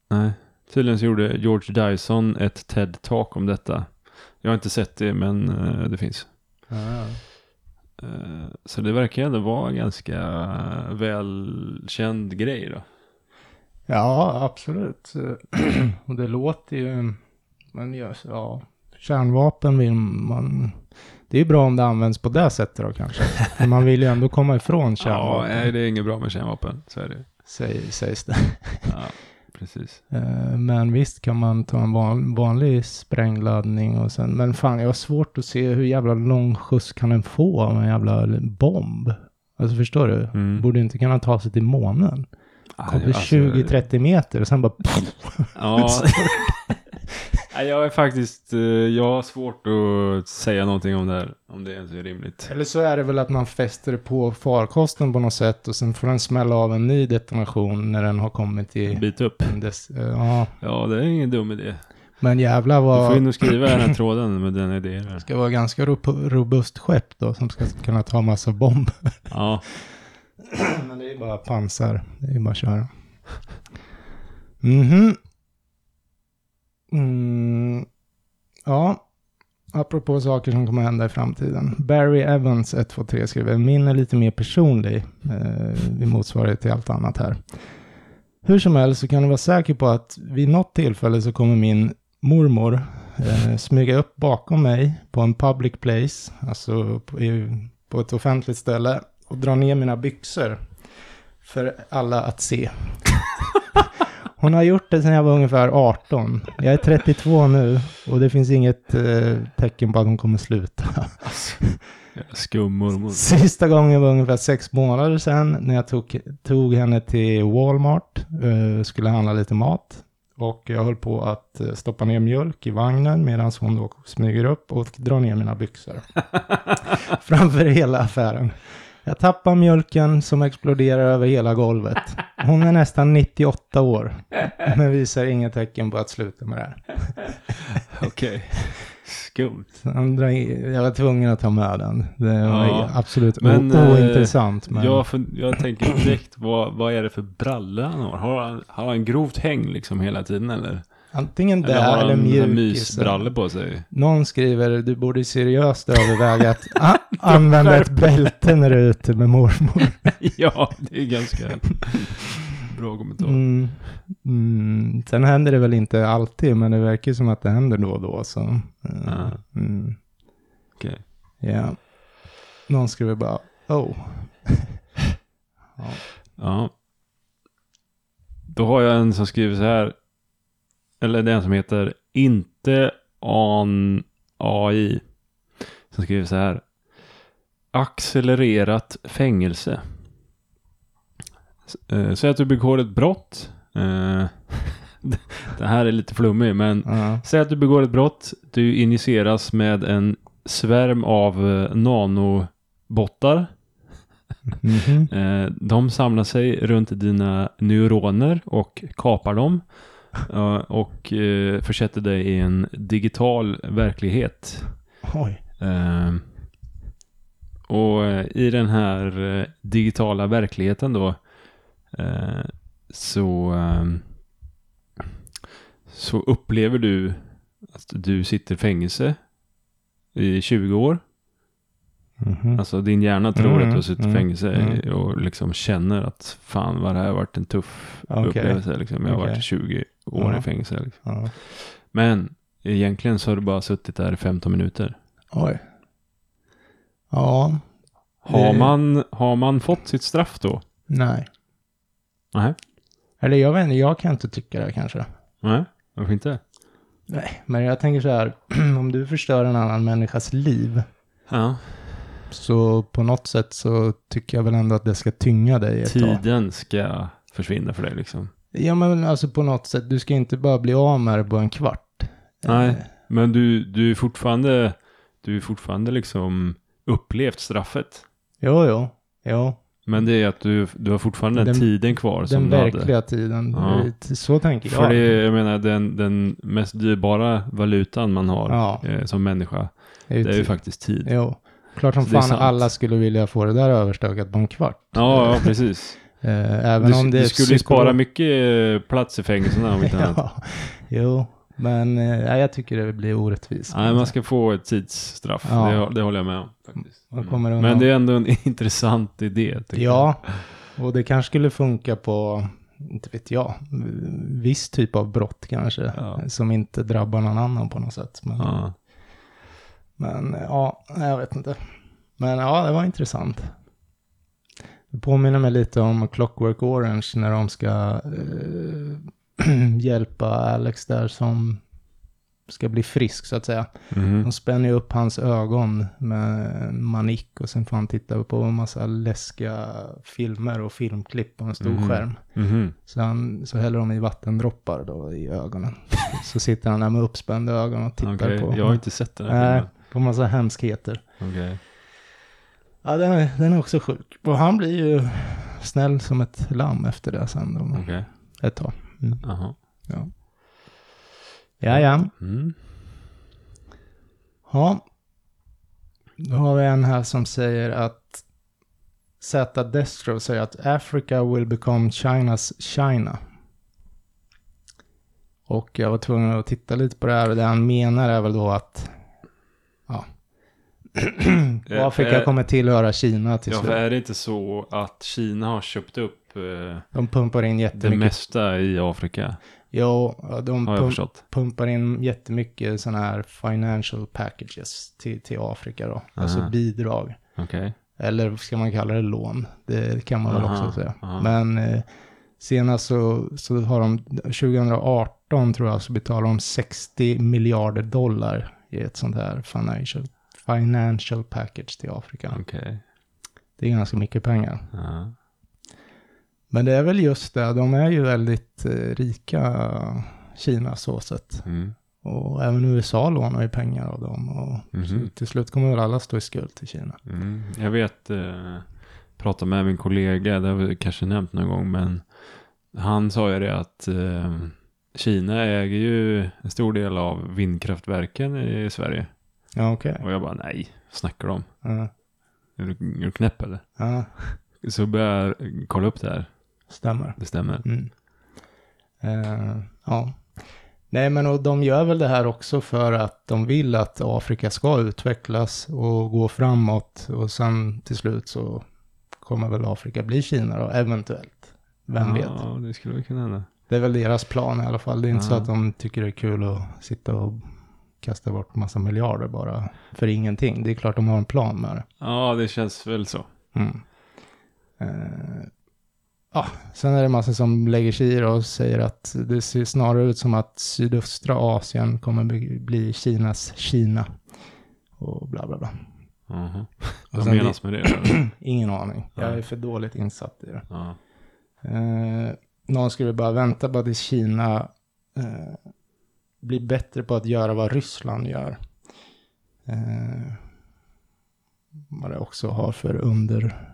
nej. Tydligen så gjorde George Dyson ett TED-talk om detta. Jag har inte sett det, men eh, det finns.
ja.
Eh, Så det verkar ändå vara en ganska välkänd grej då.
Ja, absolut. [CLEARS THROAT] Och det låter ju... Men just, ja, kärnvapen vill man... Det är ju bra om det används på det sättet då kanske. För man vill ju ändå komma ifrån
Ja, eh.
kärnvapen,
nej, det är inget bra med kärnvapen. Så är det.
säg, sägs det.
Ja, precis.
Eh, Men visst kan man ta en van, vanlig sprängladdning och sen... Men fan, jag har svårt att se hur jävla lång skjuts kan den få av en jävla bomb? Alltså förstår du?
Mm. Ah,
Borde inte kunna ta sig till månen. Kommer
alltså,
20-30 meter och sen bara...
[LAUGHS] Ja. Nej, jag är faktiskt, eh, jag har svårt att säga någonting om det här. Om det ens är rimligt.
Eller så är det väl att man fäster det på farkosten på något sätt och sen får den smälla av en ny detonation när den har kommit
En
till...
bit upp.
Des, ja,
Ja, det är ingen dum idé.
men jävlar
Du får
vad...
in och skriva i den här tråden med [LAUGHS] den idén. här.
Det ska vara ganska ro- robust skepp då som ska kunna ta massa bomber.
Ja,
Men det är ju bara pansar. Det är ju bara att köra. Mhm. Mm. Ja. Apropå saker som kommer hända i framtiden. Barry Evans 123 skriver, min är lite mer personlig. Eh, vi motsvarar till allt annat här. Hur som helst så kan du vara säker på att vid något tillfälle så kommer min mormor eh, smyga upp bakom mig på en public place, alltså på, i, på ett offentligt ställe och dra ner mina byxor för alla att se. Hon har gjort det sedan jag var ungefär 18. Jag är 32 nu och det finns inget eh, tecken på att hon kommer sluta.
skummormor.
Sista gången var ungefär sex månader sedan när jag tog, tog henne till Walmart, eh, skulle handla lite mat. Och jag höll på att eh, stoppa ner mjölk i vagnen medan hon
[LAUGHS]
då smyger upp och drar ner mina byxor. Framför hela affären. Jag tappar mjölken som exploderar över hela golvet. Hon är nästan 98 år, men visar inga tecken på att sluta med det här.
[LAUGHS] Okej. Skumt.
Så han drar in- Jag var tvungen att ta med den. Det var
Ja.
absolut
Men,
o-
eh,
ointressant. Men...
Jag, fun- jag tänker direkt, vad, vad är det för bralla han har? Har han, har han grovt häng liksom hela tiden eller?
Antingen det
eller har
eller,
han
eller
mysbrallor på sig?
Någon skriver, du borde seriöst överväga att a- [LAUGHS] använda ett bälte när du är ute med mormor.
[LAUGHS] ja, det är ganska bra kommentar.
Mm. Mm. Sen händer det väl inte alltid, men det verkar som att det händer då och då. Så. eh,
Ah.
Mm.
Okej.
Ja. Någon skriver bara, oh. ja.
Ja. Då har jag en som skriver så här. Eller det är en som heter Inte on AI. Som skriver så här. Accelererat fängelse. S- eh, Säg att du begår ett brott. Eh, [LAUGHS] Det här är lite flummig men
ja.
Säg att du begår ett brott. Du injiceras med en svärm av eh, nanobottar.
Mhm.
Eh, De samlar sig runt dina neuroner och kapar dem. eh, Och eh, försätter dig i en digital verklighet.
Oj.
Eh, Och eh, i den här eh, digitala verkligheten då eh, så, eh, så upplever du att du sitter i fängelse i 20 år.
Mhm.
Alltså din hjärna tror
Mm,
att du har suttit i
mm,
fängelse
mm.
och liksom känner att fan vad det här har varit en tuff
Okej.
upplevelse. Liksom. Jag har varit
Okej.
i 20 år
Ja.
i fängelse. Liksom.
Ja.
Men egentligen så har du bara suttit där i 15 minuter.
Oj. Ja,
Har
Eh.
man, har man fått sitt straff då?
nej.
Nej.
Eller jag vet inte, jag kan inte tycka det kanske.
Nej, varför inte?
Nej, men jag tänker så här, [CLEARS THROAT] om du förstör en annan människas liv,
Ja.
så på något sätt så tycker jag väl ändå att det ska tynga dig ett tag.
Tiden ska försvinna för dig liksom.
Ja, men alltså på något sätt, du ska inte bara bli av med det på en kvart.
Nej.
Eh,
Men du, du är fortfarande, du är fortfarande liksom upplevt straffet.
Jo, jo, jo.
Men det är att du, du har fortfarande den,
Den-
tiden kvar
Den
som du hade.
verkliga tiden.
Ja.
Eh, Så tänker jag.
För det är, jag menar, den, den mest dyrbara valutan man har
Ja.
eh, som människa,
är ju
det är ju
tid.
faktiskt tid. Ja,
Jo. Klart som
Så det är
fan
sant.
alla skulle vilja få det där överstökat på en kvart.
ja, precis.
Eh, Även
Du,
om det
du skulle ju
psykolog-
spara mycket eh, plats i fängelserna om inte
[LAUGHS]
annat.
ja. Jo, men eh, nej, jag tycker det blir orättvist.
Nej, man ska få ett tidsstraff.
Ja.
Det, det håller jag med om. Faktiskt.
Man kommer
Mm.
undan.
Men det är ändå en [LAUGHS] intressant idé. tycker
Ja, och det kanske skulle funka på, inte vet jag, viss typ av brott kanske.
Ja.
Som inte drabbar någon annan på något sätt. Men
jag. Ja.
men, ja nej, jag vet inte. Men ja, det var intressant. Det påminner mig lite om Clockwork Orange när de ska eh, [CLEARS THROAT] hjälpa Alex där som ska bli frisk så att säga.
Mhm.
De spänner ju upp hans ögon med manick och sen får han titta på en massa läskiga filmer och filmklipp på en stor
Mhm.
skärm.
Mhm.
Så, han, så häller de i vattendroppar då i
[LAUGHS]
ögonen. så sitter han där med uppspända ögon och tittar
Okej,
på,
Jag har inte sett den
Nej.
här
på massa hemskheter.
filmen. Okej.
Ja, den är, den är också sjuk. Och han blir ju snäll som ett lamm efter det sen då,
Okej.
ett tag. Mm.
Jaha.
Ja, ja.
Mm.
Ja. Då har vi en här som säger att Z. Destro säger att Africa will become Chinas China. Och jag var tvungen att titta lite på det här och det han menar är väl då att ja.
Eh,
Afrika
eh,
kommer tillhöra Kina till
Ja, för
slut.
är det inte så att Kina har köpt upp eh,
De pumpar in
det
jättemycket.
mesta i Afrika?
Jo, de
Har jag
pump,
förstått.
pumpar in jättemycket sådana här financial packages till, till Afrika då. Alltså
Aha.
bidrag.
Okej.
Eller ska man kalla det lån? Det kan man väl
Aha,
också säga.
aha.
Men eh, senast så, så har de, 2018 tror jag, så betalade de 60 miljarder dollar i ett sånt här financial, financial package till Afrika.
Okej.
Det är ganska mycket pengar.
Ja.
Men det är väl just det, de är ju väldigt eh, rika, Kina så sett.
Mm.
Och även USA lånar ju pengar av dem. Och
Mhm.
så till slut kommer väl alla stå i skuld till Kina.
Mm. Jag vet, eh, pratade med min kollega, det har vi kanske nämnt någon gång, men han sa ju det att eh, Kina äger ju en stor del av vindkraftverken i Sverige.
Ja, okej.
Och jag bara nej, snackar de?
Ja,
Är du, är du knäpp eller?
ja,
Så började jag kolla upp det här.
stämmer.
Det stämmer.
Mm. Eh, ja. Nej, men och de gör väl det här också för att de vill att Afrika ska utvecklas och gå framåt och sen till slut så kommer väl Afrika bli Kina då, eventuellt. Vem vet?
Ja, det skulle väl kunna hända.
Det är väl deras plan i alla fall. Det är inte så
Ja.
att de tycker det är kul att sitta och kasta bort massa miljarder bara för ingenting. Det är klart de har en plan med det.
Ja, det känns väl så.
Mm. Eh, ja, sen är det massa som lägger sig i det och säger att det ser snarare ut som att sydöstra Asien kommer bli- bli Kinas Kina. Och bla bla bla.
Jaha.
Och
Vad
sen
menas med det? då?
[CLEARS THROAT] Ingen aning. Jag
Nej.
är för dåligt insatt i det.
ja.
Eh, någon skulle bara vänta på att Kina eh, blir bättre på att göra vad Ryssland gör. Eh, vad det också har för under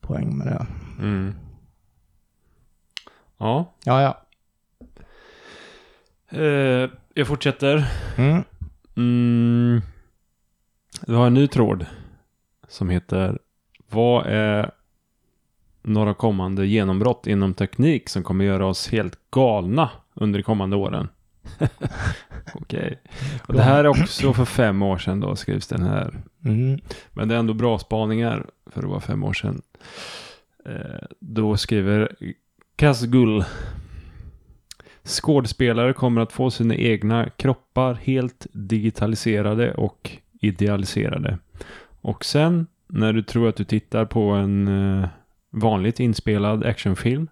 poäng med det.
Mm. Ja,
Ja, ja.
eh, jag fortsätter.
Mm.
Mm. Vi har en ny tråd som heter Vad är några kommande genombrott inom teknik som kommer göra oss helt galna under de kommande åren? Okej. Och det här är också för fem år sedan då skrivs den här
Mm.
men det är ändå bra spaningar för att vara fem år sedan. Eh, då skriver Kazgull. Skådespelare kommer att få sina egna kroppar helt digitaliserade och idealiserade. Och sen när du tror att du tittar på en eh, vanligt inspelad actionfilm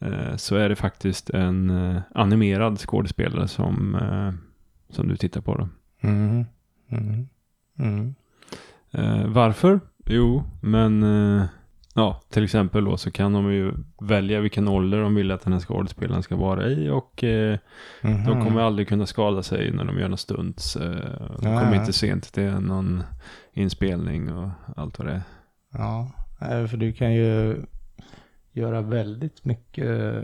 eh, så är det faktiskt en eh, animerad skådespelare som, eh, som du tittar på. Då.
Mm. Mm. Mm.
Eh, varför? Jo, men eh, ja, till exempel då så kan de ju välja vilken ålder de vill att den här skådespelaren ska vara i och eh,
Mhm.
de kommer aldrig kunna skada sig när de gör något stunts. Eh, de
Ja,
kommer
ja.
inte sent till någon inspelning och allt vad det är.
Ja, eh, för du kan ju göra väldigt mycket eh,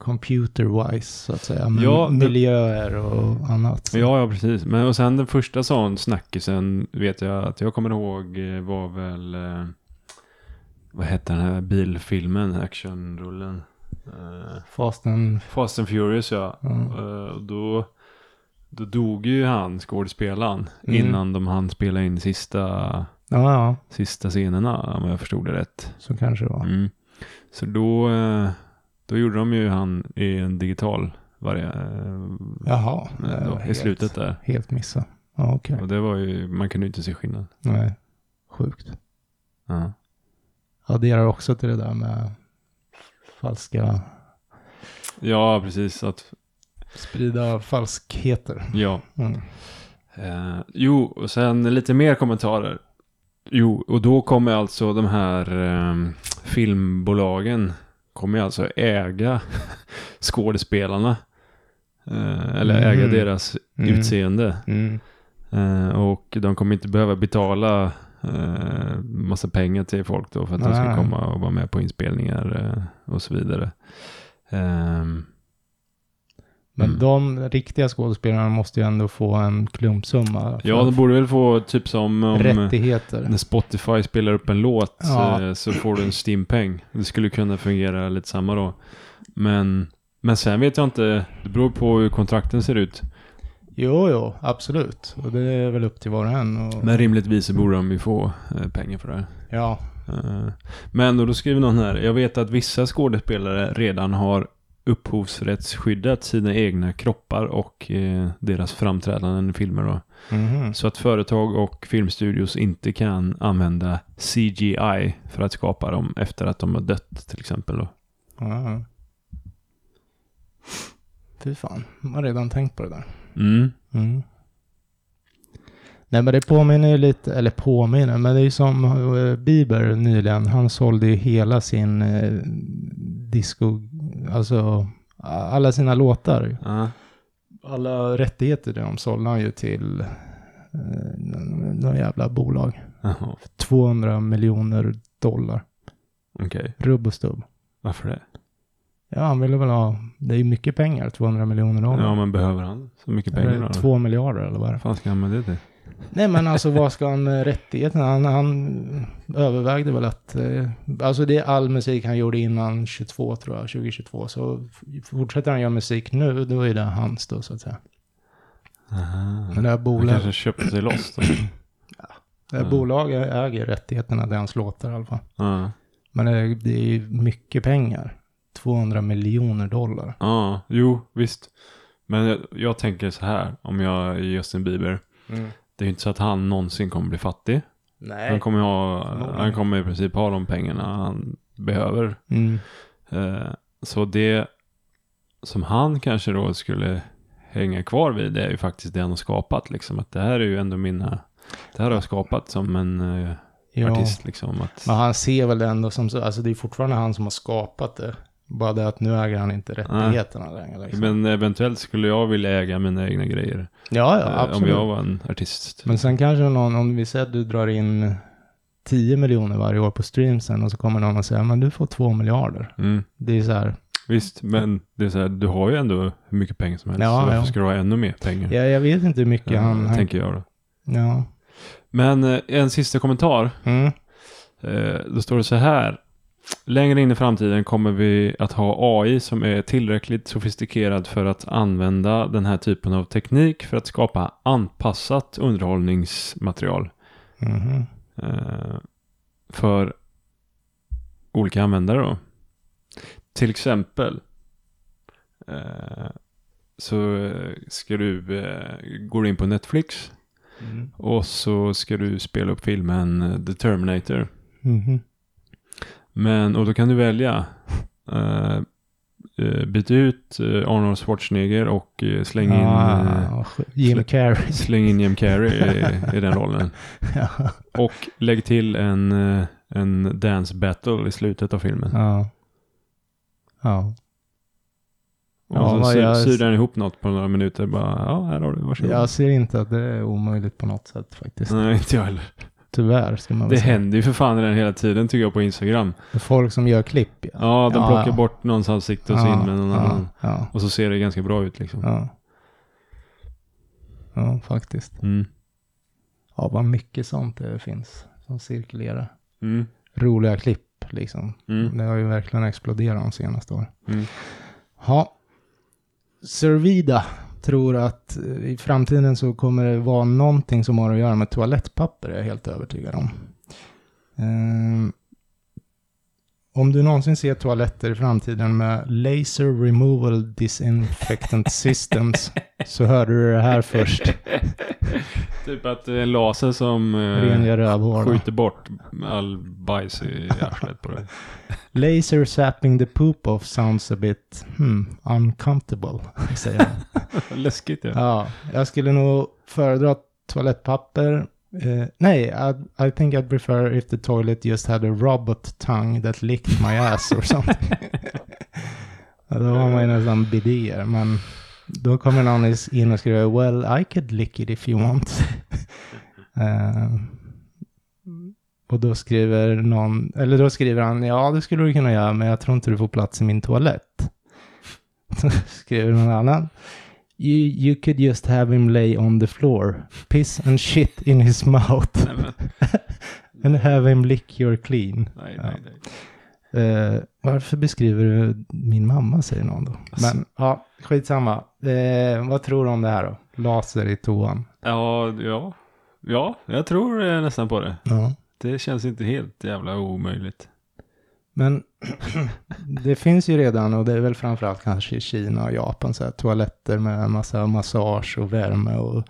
computer-wise så att säga. Med
Ja, det- Mm.
miljöer och annat.
Ja, ja, precis. Men och sen den första sån snackisen vet jag att jag kommer ihåg eh, var väl eh, vad hette den här bilfilmen, actionrullen? Eh,
Fasten.
Fast and Furious ja.
Mm.
Eh, och då, då dog ju han, skådespelaren,
Mm.
innan de hann spela in sista,
Ja, ja,
sista scenerna, om jag förstod det rätt.
så kanske det var.
Mm. Så då, eh, då gjorde de ju han i en digital varje,
Jaha. det var
Mm. då, i
helt-
slutet Mm. där.
Helt missa. Ja, okej.
Och det var ju, man kunde ju inte se skillnad.
Nej, sjukt.
Ja.
Adderar också till det där med falska,
Ja, precis. Att,
sprida falskheter.
ja.
Mm.
Eh, jo, och sen lite mer kommentarer. Jo, och då kommer alltså de här eh, filmbolagen kommer ju alltså äga [LAUGHS] skådespelarna. Eh, eller
Mm.
äga deras
Mm.
utseende.
Mm.
Eh, och de kommer inte behöva betala eh, massa pengar till folk då för att de ska
Nej.
komma och vara med på inspelningar eh, och så vidare. Ehm,
Men
Mm.
de riktiga skådespelarna måste ju ändå få en klumpsumma. för
ja, de borde väl få typ som... Om,
rättigheter.
När Spotify spelar upp en låt
Ja.
eh, så får du en Steam-peng. Det skulle kunna fungera lite samma då. Men, men sen vet jag inte, det beror på hur kontrakten ser ut.
Jo, jo, absolut. Och det är väl upp till var och en. Och...
Men rimligtvis så borde de ju få eh, pengar för det här.
Ja.
Eh, Men och då skriver någon här, jag vet att vissa skådespelare redan har upphovsrättsskyddat sina egna kroppar och eh, deras framträdanden i filmer då.
Mhm.
Så att företag och filmstudios inte kan använda CGI för att skapa dem efter att de har dött till exempel. Då.
Ja. Fy fan, man har redan tänkt på det där.
Mm.
Mm. Nej, men det påminner ju lite, eller påminner, men det är ju som eh, Bieber nyligen. Han sålde ju hela sin eh, disco, alltså alla sina låtar.
Ja.
Alla rättigheter de sålde han ju till eh, n- n- några jävla bolag.
Jaha,
För 200 miljoner dollar.
okej.
Rubb och stubb.
Varför det?
Ja, han ville väl ha... Det är ju mycket pengar, 200 miljoner dollar.
Ja, men behöver han så mycket pengar?
eller
då?
två miljarder eller vad är det?
Vad fan ska han använda det till?
Nej men alltså vad ska han med rättigheterna? Han, han övervägde väl att, eh, alltså det är all musik han gjorde innan 22 tror jag, 2022. Så f- fortsätter han göra musik nu, då är det hans då så att säga.
Aha.
Men det här,
Han
bolag,
Mm. kanske mm. köpte sig loss
[CLEARS THROAT]
då.
det här
Ja.
bolaget äger rättigheterna till hans låtar i alla fall.
Ja,
Men det, det är ju mycket pengar. 200 miljoner dollar.
ja, jo, visst. Men jag, jag tänker så här, om jag är Justin Bieber. Det är ju inte så att han någonsin kommer bli fattig. Han
Nej.
kommer, ju ha,
Förmodligen.
han kommer i princip ha de pengarna han behöver.
Mm.
Eh, Så det som han kanske då skulle hänga kvar vid det är ju faktiskt det han har skapat. Liksom. Att det här är ju ändå mina... Det här har jag skapat som en eh,
Ja.
artist. Liksom, att,
Men han ser väl ändå som så, alltså det är fortfarande han som har skapat det. Bara det att nu äger han inte rättigheterna längre. Liksom.
Men eventuellt skulle jag vilja äga mina egna grejer.
ja, ja,
eh,
absolut.
om jag var en artist.
Men sen kanske någon, om vi säger att du drar in 10 miljoner varje år på streamsen och så kommer någon och säger men du får 2 miljarder.
Mm,
Det är så här,
visst, men det är så här, du har ju ändå hur mycket pengar som helst.
Ja,
så varför
ja.
ska du ha ännu mer pengar?
ja, jag vet inte hur mycket
Eh,
han... han
Tänker jag då.
ja.
Men eh, en sista kommentar.
Mm.
Eh, Då står det så här. Längre in i framtiden kommer vi att ha AI som är tillräckligt sofistikerad för att använda den här typen av teknik för att skapa anpassat underhållningsmaterial
Mhm.
eh, för olika användare. Då. Till exempel eh, så eh, ska du, eh, går du in på Netflix
Mm.
och så ska du spela upp filmen eh, The Terminator.
Mhm.
Men, och då kan du välja. eh, eh, byt ut eh, Arnold Schwarzenegger och eh, släng in, eh,
Ah, sk- Jim
slä-
Carrey.
släng in Jim Carrey i, i den rollen.
[LAUGHS] ja.
Och lägg till en, eh, en dance battle i slutet av filmen.
ja. Ja.
och
ja,
så
vad
syr,
jag-
syr den ihop något på några minuter. Bara, ja, här har du, varsågod.
Jag ser inte att det är omöjligt på något sätt faktiskt.
Nej, inte jag heller.
Tyvärr ska man
Det
väl säga.
händer ju för fan redan hela tiden tycker jag på Instagram.
Folk som gör klipp. Ja,
Ja, de
Ja,
plockar
ja.
bort någons ansikte och så in med någon
ja,
annan.
Ja,
Och så ser det ganska bra ut liksom.
ja. Ja, faktiskt.
Mm.
Ja, vad mycket sånt det finns som cirkulerar.
Mm.
Roliga klipp liksom.
Mm.
Det har ju verkligen exploderat de senaste åren.
Mm.
Ja. Servida tror att eh, i framtiden så kommer det vara någonting som har att göra med toalettpapper, är jag helt övertygad om. Ehm, om du någonsin ser toaletter i framtiden med Laser Removal
[LAUGHS]
Disinfectant Systems så hörde du det här först.
Eh, Typ att det är en laser som eh,
Rengör rövhål.
skjuter bort all bajs i arslet
[LAUGHS]
på det.
Laser sapping the poop off sounds a bit hmm, uncomfortable, säger jag.
Läskigt ja.
ja, jag skulle nog föredra toalettpapper. Eh, nej, I, I think I'd prefer if the toilet just had a robot tongue that licked my ass or something. ja, då har man ju nästan bidéer, men då kommer någon is- in och skriver well I could lick it if you want. Eh, och då skriver någon, eller då skriver han ja det skulle du kunna göra men jag tror inte du får plats i min toalett. [LAUGHS] Då skriver någon annan You, you could just have him lay on the floor, piss and shit in his mouth,
Nej, men,
and have him lick your clean.
nej, nej, nej.
Eh, varför beskriver du min mamma, säger någon då.
Alltså.
Men ja, skitsamma. Eh, vad tror du om det här då? Laser i toan.
Ja, ja. Ja, jag tror eh, nästan på det.
Ja.
Det känns inte helt jävla omöjligt.
Men [CLEARS THROAT] det finns ju redan, och det är väl framförallt kanske i Kina och Japan, så här, toaletter med massa massage och värme och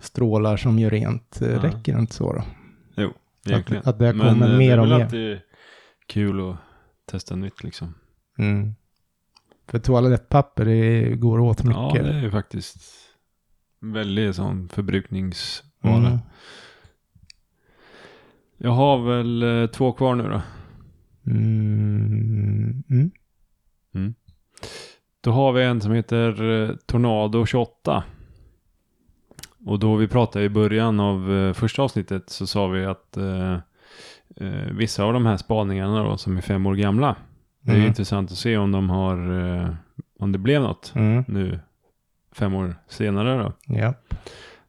strålar som gör rent. Eh,
Ja.
Räcker det inte så då?
Egentligen.
att det kommer
eh,
mer och
Det är väl
mer.
alltid kul att testa nytt liksom.
Mm. För toalettpapper det går åt mycket.
Ja, det är ju faktiskt väldigt sån förbrukningsvara.
Mm.
Jag har väl eh, två kvar nu då.
Mm. Mm.
Då har vi en som heter eh, Tornado 28. Och då vi pratade i början av eh, första avsnittet så sa vi att eh, eh, vissa av de här spaningarna då, som är fem år gamla, det är ju
Mm.
intressant att se om de har, eh, om det blev något
Mm.
nu fem år senare då.
Ja.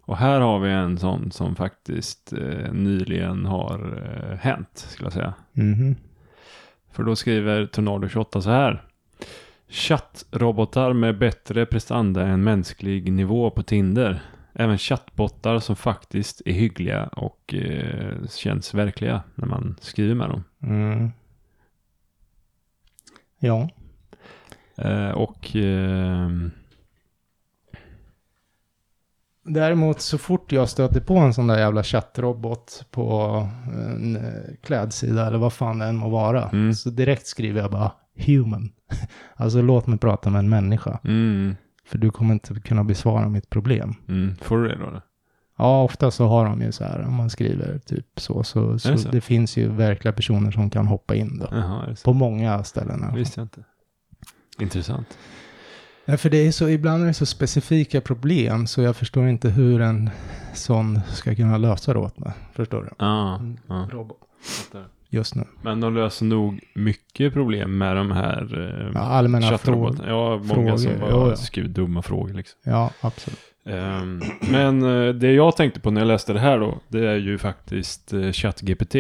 Och här har vi en sån som faktiskt eh, nyligen har eh, hänt, skulle jag säga.
Mhm.
För då skriver Tornado28 så här. Chattrobotar med bättre prestanda än mänsklig nivå på Tinder. Även chattbottar som faktiskt är hyggliga och eh, känns verkliga när man skriver med dem.
Mm. Ja.
Eh, och ehm,
Däremot så fort jag stöter på en sån där jävla chattrobot på en eh, klädsida eller vad fan det än må vara.
Mm.
Så direkt skriver jag bara human. [LAUGHS] Alltså låt mig prata med en människa.
mm,
För du kommer inte kunna besvara mitt problem.
mm, får du det då?
Ja, ofta så har de ju så här, om man skriver typ så, så,
Är
så,
det så?
det finns ju verkliga personer som kan hoppa in då.
Jaha, är det så?
På många ställen. i alla fall.
visste jag inte. Intressant.
Ja, för det är så, ibland är det så specifika problem så jag förstår inte hur en sån ska kunna lösa det åt mig. Förstår du?
Ah,
Mm.
ah.
Robot. Just nu.
Men de löser nog mycket problem med de här eh,
Ja, allmänna frågor.
chattrobotarna. Ja, många som
frågor,
bara
ja, ja.
skriver dumma frågor liksom.
Ja, absolut.
Ehm, Men eh, det jag tänkte på när jag läste det här då, det är ju faktiskt eh, ChatGPT.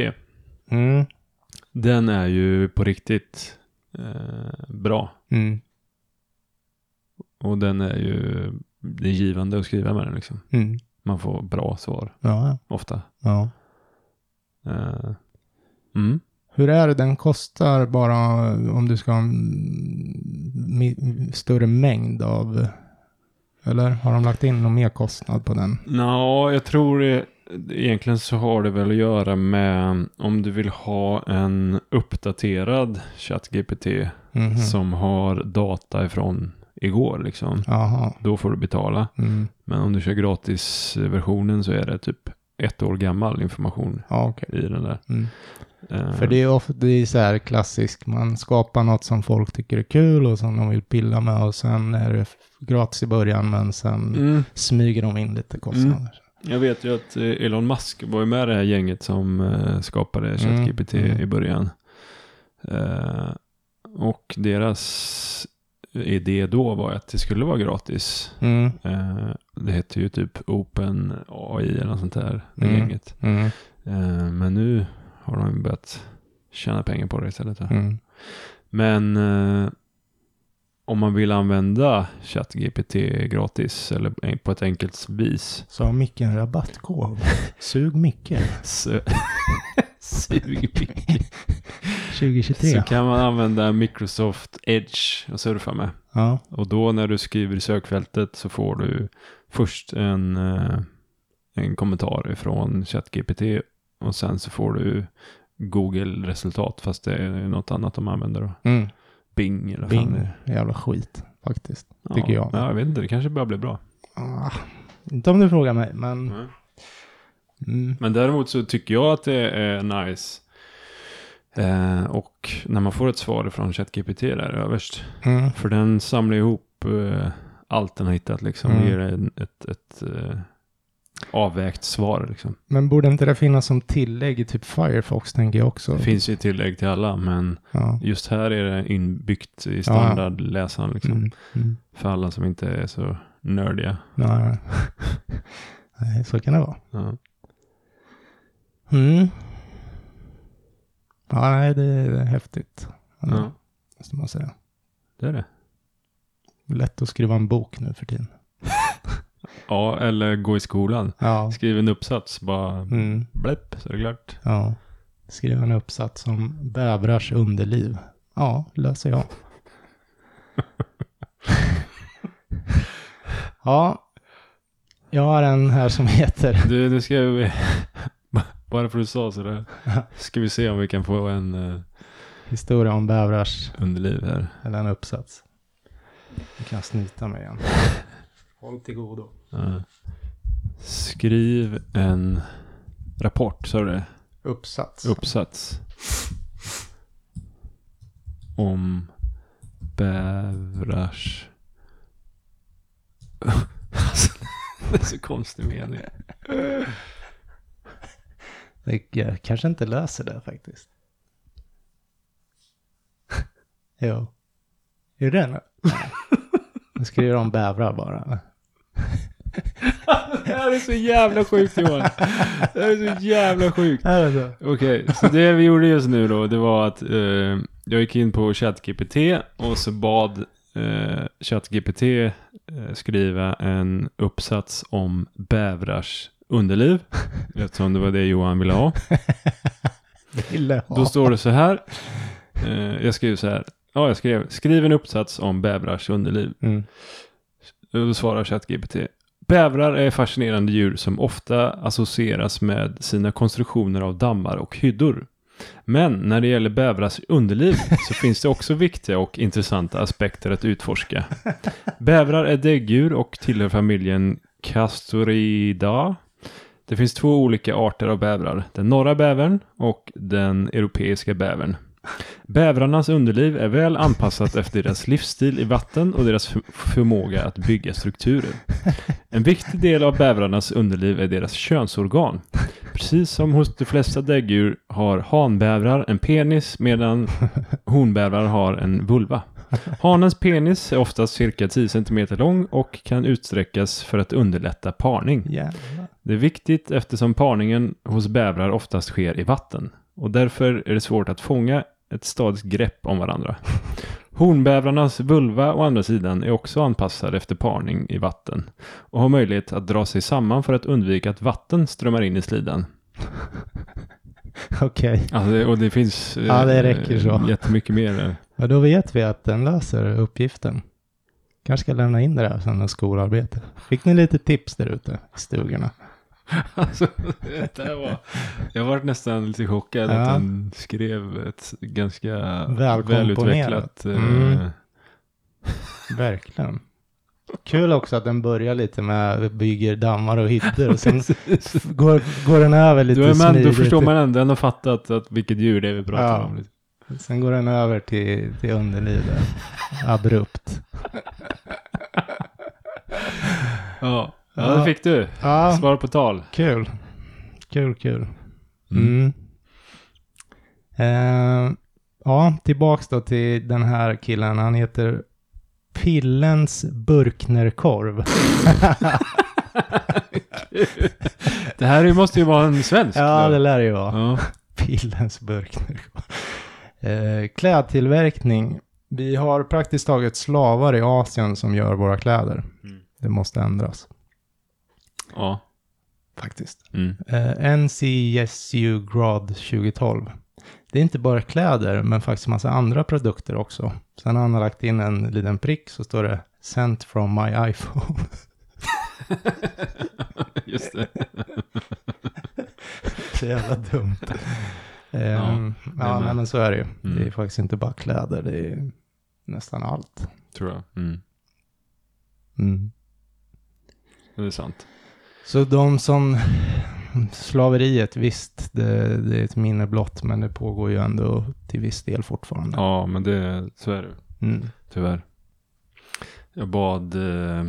Mm.
Den är ju på riktigt eh, bra.
Mm.
Och den är ju, det är givande att skriva med den liksom.
Mm.
Man får bra svar
Ja, ja.
ofta.
ja.
Eh, Mm.
Hur är det, den kostar bara om du ska ha en mi- större mängd av... Eller har de lagt in någon mer kostnad på den?
Nå, jag tror det, egentligen så har det väl att göra med om du vill ha en uppdaterad ChatGPT
Mhm.
som har data ifrån igår liksom.
Jaha.
Då får du betala.
Mm.
Men om du kör gratisversionen så är det typ ett år gammal information
Ja, okej.
i den där.
Mm.
Eh,
För det är ofta det är så här klassiskt, man skapar något som folk tycker är kul och som de vill pilla med och sen är det f- gratis i början men sen
Mm,
smyger de in lite kostnader.
jag vet ju att eh, Elon Musk var ju med i det här gänget som eh, skapade
Mm,
ChatGPT
mm.
i början. Eh, och deras idé då var att det skulle vara gratis.
Mm.
Eh, det hette ju typ Open AI eller något sånt där, det
Mm.
gänget.
Mm.
Eh, men nu har de börjat tjäna pengar på det istället. va?
Mm.
Men eh, om man vill använda ChatGPT gratis eller en- på ett enkelt vis.
Så har Micke en rabattkod. Sug Micke.
[LAUGHS] Så, sug pick.
2023.
så kan man använda Microsoft Edge och surfa med.
Ja.
Och då när du skriver i sökfältet så får du först en, eh, en kommentar ifrån ChatGPT och sen så får du Google-resultat fast det är något annat de använder då.
Mm.
Bing eller vad fan det
Bing.
är.
Jävla skit faktiskt.
ja,
tycker jag.
Ja, jag vet inte, det kanske bara blir bra.
Ah. Inte om du frågar mig, men...
Mm.
Mm.
Men däremot så tycker jag att det är nice. Eh, och när man får ett svar från ChatGPT där överst.
Mm.
För den samlar ihop eh, allt den har hittat liksom.
Mm.
Och ger en, ett, ett eh, avvägt svar liksom.
Men borde inte det finnas som tillägg i typ Firefox, tänker jag också.
Det finns ju ett tillägg till alla. Men
Ja.
just här är det inbyggt i standardläsaren liksom.
Mm. Mm.
För alla som inte är så nördiga.
Nej. [LAUGHS] Nej, så kan det vara.
Ja.
Mm. Ja, nej, det är häftigt.
ja,
Måste man säga.
det är det.
Lätt att skriva en bok nu för tiden.
Ja, eller gå i skolan.
Ja.
Skriv en uppsats, bara
Mm.
bläpp så är det klart.
Ja. Skriva en uppsats om bävrars underliv. Ja, löser jag. [LAUGHS] ja. Jag har en här som heter...
Du, nu ska vi... [LAUGHS] Bara för att du sa sådär. Ska vi se om vi kan få en eh,
Historia om bävrars
underliv här.
Eller en uppsats. Nu kan jag snyta mig igen. Håll till godo.
Ja. skriv en rapport, sa du det?
Uppsats.
Uppsats. Om bävrars... Alltså, [LAUGHS] det är så konstig mening.
Jag kanske inte läser det faktiskt. [LAUGHS] Jo. Är det [LAUGHS] nu? Nu skriver de bävrar bara.
Det här är så jävla sjukt Johan. Det här är så jävla sjukt.
Är det så?
Okej, så det vi gjorde just nu då, det var att eh, jag gick in på ChatGPT och så bad eh, ChatGPT eh, skriva en uppsats om bävrars underliv. [LAUGHS] Eftersom det var det Johan ville ha.
[LAUGHS] Ville ha.
Då står det så här. Eh, jag skrev så här. Ja, jag skrev. Skriv en uppsats om bävrars underliv.
Mm.
Eh, Då svarar ChatGPT. Bävrar är fascinerande djur som ofta associeras med sina konstruktioner av dammar och hyddor. Men när det gäller bävrars underliv så finns det också viktiga och intressanta aspekter att utforska. Bävrar är däggdjur och tillhör familjen Castorida. Det finns två olika arter av bävrar, den norra bävern och den europeiska bävern. Bävrarnas underliv är väl anpassat efter deras livsstil i vatten och deras för- förmåga att bygga strukturer. En viktig del av bävrarnas underliv är deras könsorgan. Precis som hos de flesta däggdjur har hanbävrar en penis medan honbävrar har en vulva. Hanens penis är oftast cirka 10 cm lång och kan utsträckas för att underlätta parning.
Jävlar.
Det är viktigt eftersom parningen hos bävrar oftast sker i vatten och därför är det svårt att fånga ett stadigt grepp om varandra. Hornbävrarnas vulva å andra sidan är också anpassad efter parning i vatten och har möjlighet att dra sig samman för att undvika att vatten strömmar in i slidan.
Okej.
Alltså, det- och det finns eh,
Ja, det räcker så.
eh, jättemycket
[LAUGHS]
mer. där.
Ja, då vet vi att den löser uppgiften. Kanske ska lämna in det där sen när skolarbete. Fick ni lite tips där ute i stugorna?
Alltså, det där var, jag var nästan lite chockad
Ja.
att han skrev ett ganska
Välkomponerat.
välutvecklat... eh,
Mm. Verkligen. Kul också att den börjar lite med bygger dammar och hyddor och
[LAUGHS]
sen f- går, går den över lite
Då, är man,
smidigt.
då förstår man ändå, ändå fattat att vilket djur det är vi pratar
Ja.
om. liksom. Lite.
Sen går den över till, till underlivet. Abrupt.
Ja. ja, det
Ja.
fick du.
Ja,
Svar
[LAUGHS]
på tal. [LAUGHS]
kul. Kul, kul.
Mm.
Mm. Eh, ja, tillbaks då till den här killen. Han heter Pillens Burknerkorv.
Det här måste ju vara en svensk.
ja,
då.
det lär det ju vara.
ja.
[LAUGHS] Pillens Burknerkorv. Eh, klädtillverkning. Vi har praktiskt taget slavar i Asien som gör våra kläder.
Mm.
Det måste ändras,
ja.
faktiskt.
Mm. [LAUGHS]
Eh, NCSU Grad 2012. Det är inte bara kläder, men faktiskt massa andra produkter också. Sen har han lagt in en liten prick så står det Sent from my iPhone. [LAUGHS]
Just det.
så jävla dumt. Ehm, ja,
men-
nej, men så är det ju. Det
Mm.
är faktiskt inte bara kläder, det är nästan allt.
Tror jag. Mm.
Mm.
Det är sant.
Så de som... Slaveriet, visst, det, det är ett minne blott, men det pågår ju ändå till viss del fortfarande.
Ja, men det, så är det.
Mm. [LAUGHS]
Tyvärr. Jag bad... Eh...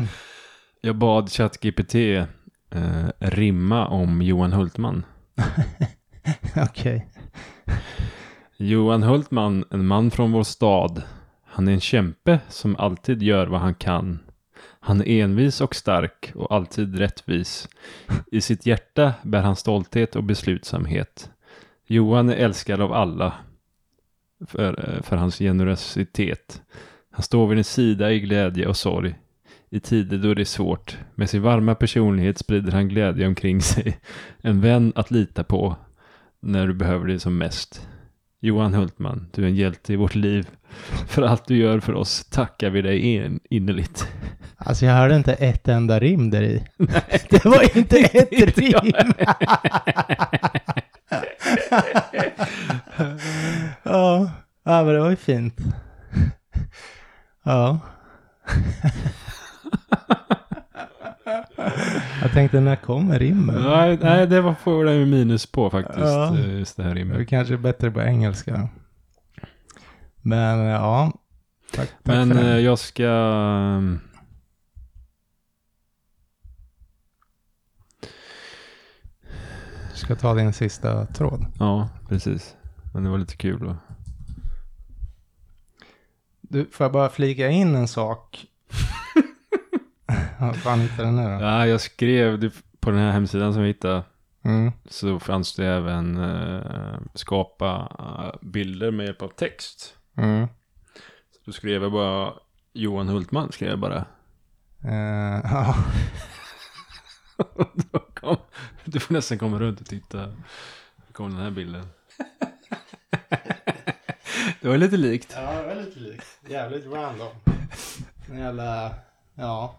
[LAUGHS] jag bad ChatGPT eh, rimma om Johan Hultman.
Okej.
Johan Hultman, en man från vår stad. Han är en kämpe som alltid gör vad han kan. Han är envis och stark och alltid rättvis. I sitt hjärta bär han stolthet och beslutsamhet. Johan är älskad av alla för, eh, för hans generositet. Han står vid din sida i glädje och sorg. I tider då det är svårt. Med sin varma personlighet sprider han glädje omkring sig. En vän att lita på när du behöver det som mest. Johan Hultman, du är en hjälte i vårt liv. För allt du gör för oss tackar vi dig in, innerligt.
Alltså jag hörde inte ett enda rim där [LAUGHS] i. [LAUGHS] det var inte ett rim! [LAUGHS] ja. ja, men det var ju fint. [LAUGHS] Ja. jag tänkte när kommer rimmen?
Nej, nej det var får det minus på faktiskt.
Ja.
eh, Just det här
Det är
rimmet.
kanske bättre på engelska. Men ja. Tack, tack
Men
för det.
eh, jag ska...
ska ta din sista tråd.
Ja, precis. Men det var lite kul. Och...
Du, får jag bara flika in en [LAUGHS] sak? Ja, Fan, hittade den nu då?
Ja, jag skrev det på den här hemsidan som vi hittade.
Mm.
Så fanns det även eh, skapa eh, bilder med hjälp av text.
Mm.
Så då skrev jag bara Johan Hultman skrev jag bara.
Eh, ja.
Då kom, du får nästan komma runt och titta. Då kom den här bilden. det var lite likt.
Ja, väldigt likt. Jävligt random. En jävla, ja,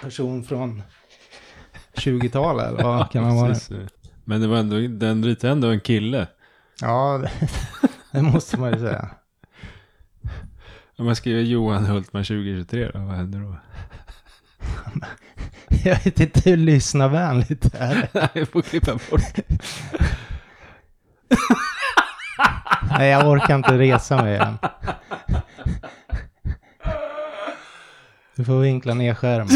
person från 20-talet eller vad kan man vara?
Precis. Men det var ändå, den ritade ändå en kille.
Ja, [LAUGHS] det, det måste man ju säga.
Om jag skriver Johan Hultman 2023 då, vad händer då? [LAUGHS]
Jag vet inte hur lyssnarvänligt det är.
Nej, jag får klippa bort.
Nej, jag orkar inte resa mig [LAUGHS] igen. Du får vinkla ner skärmen.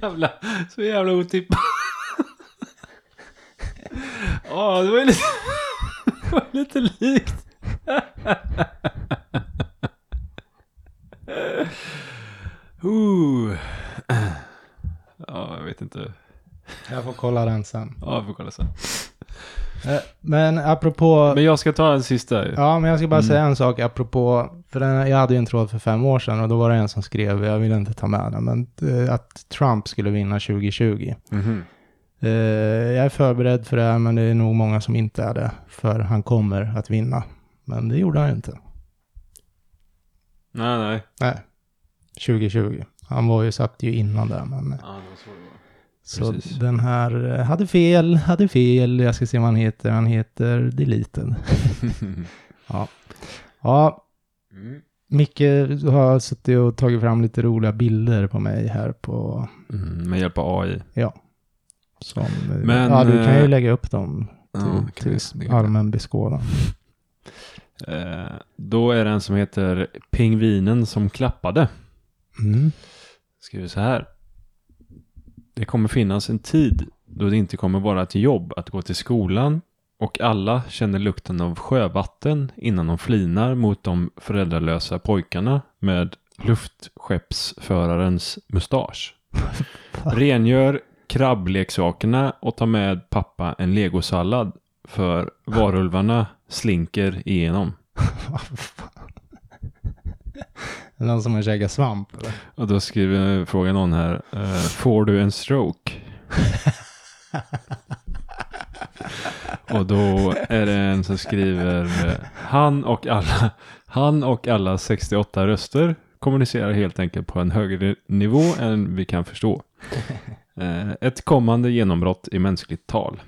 Jävla, så jävla otippat. Ja, det var ju lite, det var lite likt. Uh. Ja, jag vet inte.
Jag får kolla den sen.
Ja, jag får kolla sen.
Eh, Men apropå...
Men Mm. jag ska ta en sista. ju.
Ja, men jag ska bara säga en sak apropå, för den, jag hade ju en tråd för fem år sedan och då var det en som skrev, jag vill inte ta med den, men eh, att Trump skulle vinna 2020.
Mhm.
Eh, jag är förberedd för det här, men det är nog många som inte är det, för han kommer att vinna. Men det gjorde han ju inte.
Nej, nej.
Nej, 2020. Han var ju satt ju innan där, men... eh,
Ja, det var så det var.
Så
Precis.
den här eh, hade fel, hade fel, jag ska se vad han heter, han heter Deleted. ja. ja,
Mm.
Micke har suttit och tagit fram lite roliga bilder på mig här på...
Mm, med hjälp av AI.
Som,
Men,
ja, du kan ju
eh,
lägga upp dem till,
Ja, Mm, typ. kan
till
jag- det kan jag.
allmän beskådan.
Eh, Då är det en som heter Pingvinen som klappade.
Mm. [LAUGHS]
Skriver så här. Det kommer finnas en tid då det inte kommer vara ett jobb att gå till skolan och alla känner lukten av sjövatten innan de flinar mot de föräldralösa pojkarna med luftskeppsförarens mustasch. Rengör krabbleksakerna och ta med pappa en legosallad för varulvarna slinker igenom.
Vad fan. Är det Någon som har käkat svamp eller?
Och då skriver frågan någon här. eh, får du en stroke? [LAUGHS] och då är det en som skriver. eh, han och alla, han och alla 68 röster kommunicerar helt enkelt på en högre nivå än vi kan förstå. Eh, ett kommande genombrott i mänskligt tal.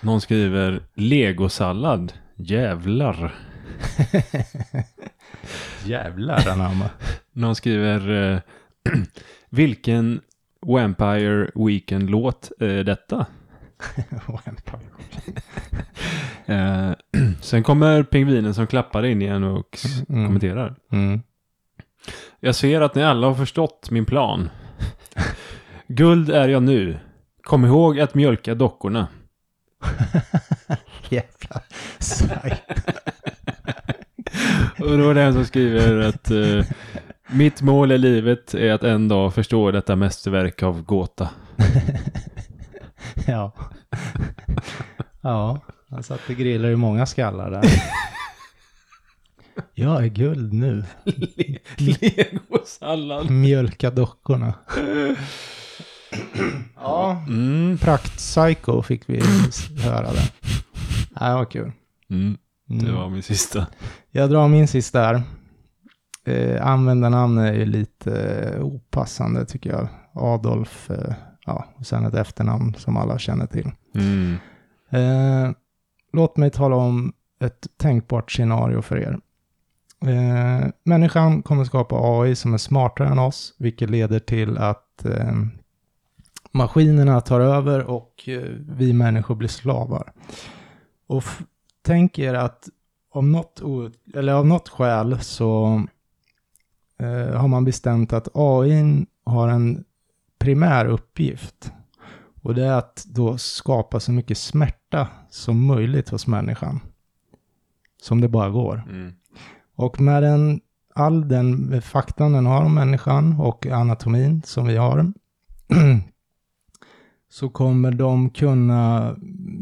Någon skriver legosallad. Jävlar.
[LAUGHS] Jävlar [LAUGHS] anamma.
Någon skriver eh, [CLEARS THROAT] Vilken Vampire Weekend-låt är detta? Eh, [CLEARS THROAT] sen kommer pingvinen som klappar in igen och s-
Mm.
kommenterar.
mm. [LAUGHS]
Jag ser att ni alla har förstått min plan. Guld är jag nu. Kom ihåg att mjölka dockorna.
Jävlar. Saj.
Och då är det en som skriver att eh, mitt mål i livet är att en dag förstå detta mästerverk av gåta.
[LAUGHS] Ja. Ja, han satt och grillade ju många skallar där. [LAUGHS] Jag är guld nu.
Legosallad.
Mjölka dockorna. [CLEARS THROAT] Ja,
Mm.
praktpsyko fick vi höra där. Ja, det var kul.
Mm. Det
Mm.
var min sista.
Jag drar min sista här. Eh, användarnamn är ju lite eh, opassande tycker jag. Adolf, eh, ja, och sen ett efternamn som alla känner till.
Mm.
Eh, låt mig tala om ett tänkbart scenario för er. Eh, människan kommer skapa AI som är smartare än oss, vilket leder till att eh, maskinerna tar över och eh, vi människor blir slavar. Och f- tänk er att om något, o- eller av något skäl så eh, har man bestämt att AI n har en primär uppgift. Och det är att då skapa så mycket smärta som möjligt hos människan. Som det bara går.
Mm.
Och med den, all den faktan den har om människan och anatomin som vi har, [CLEARS THROAT] så kommer de kunna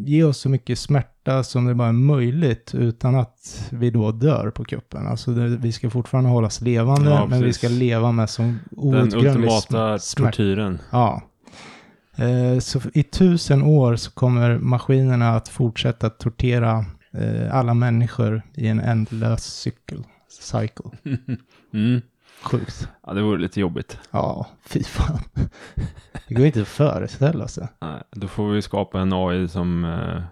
ge oss så mycket smärta som det bara är möjligt utan att vi då dör på kuppen. Alltså det, vi ska fortfarande hållas levande,
Ja,
men vi
precis.
ska leva med som
Den
outgrundlig
ultimata
sm- smärta.
tortyren. [LAUGHS]
Ja. Eh, Så i tusen år så kommer maskinerna att fortsätta tortera eh, alla människor i en ändlös cykel. Cycle.
Mm.
Sjukt.
Ja, det vore lite jobbigt.
Ja, fy fan. Det går inte att föreställa sig.
Nej, då får vi skapa en AI som eh,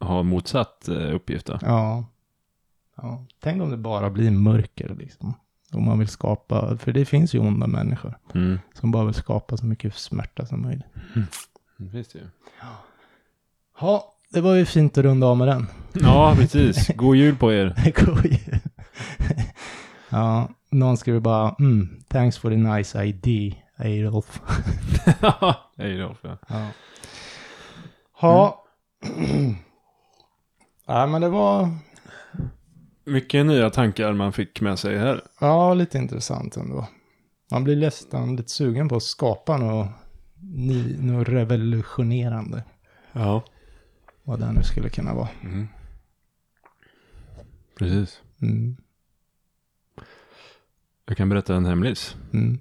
har motsatt eh, uppgift då.
Ja. ja. Tänk om det bara blir mörker liksom. Om man vill skapa, för det finns ju onda människor
Mm.
som bara vill skapa så mycket smärta som möjligt.
Det finns Mm, det ju.
Ja, det var ju fint att runda av med den.
Ja, precis. God jul på er.
[LAUGHS] God jul. ja, någon skriver bara mm, thanks for the nice ID, Adolf. [LAUGHS]
[LAUGHS] Hej Rolf. Ja.
Ja. Ja. [CLEARS THROAT] ja, men det var
Mycket nya tankar man fick med sig här.
ja, lite intressant ändå. Man blir nästan lite sugen på att skapa något, ny, något revolutionerande.
Ja.
Vad det nu skulle kunna vara.
Mm. Precis.
Mm.
Jag kan berätta en hemlis.
Mm.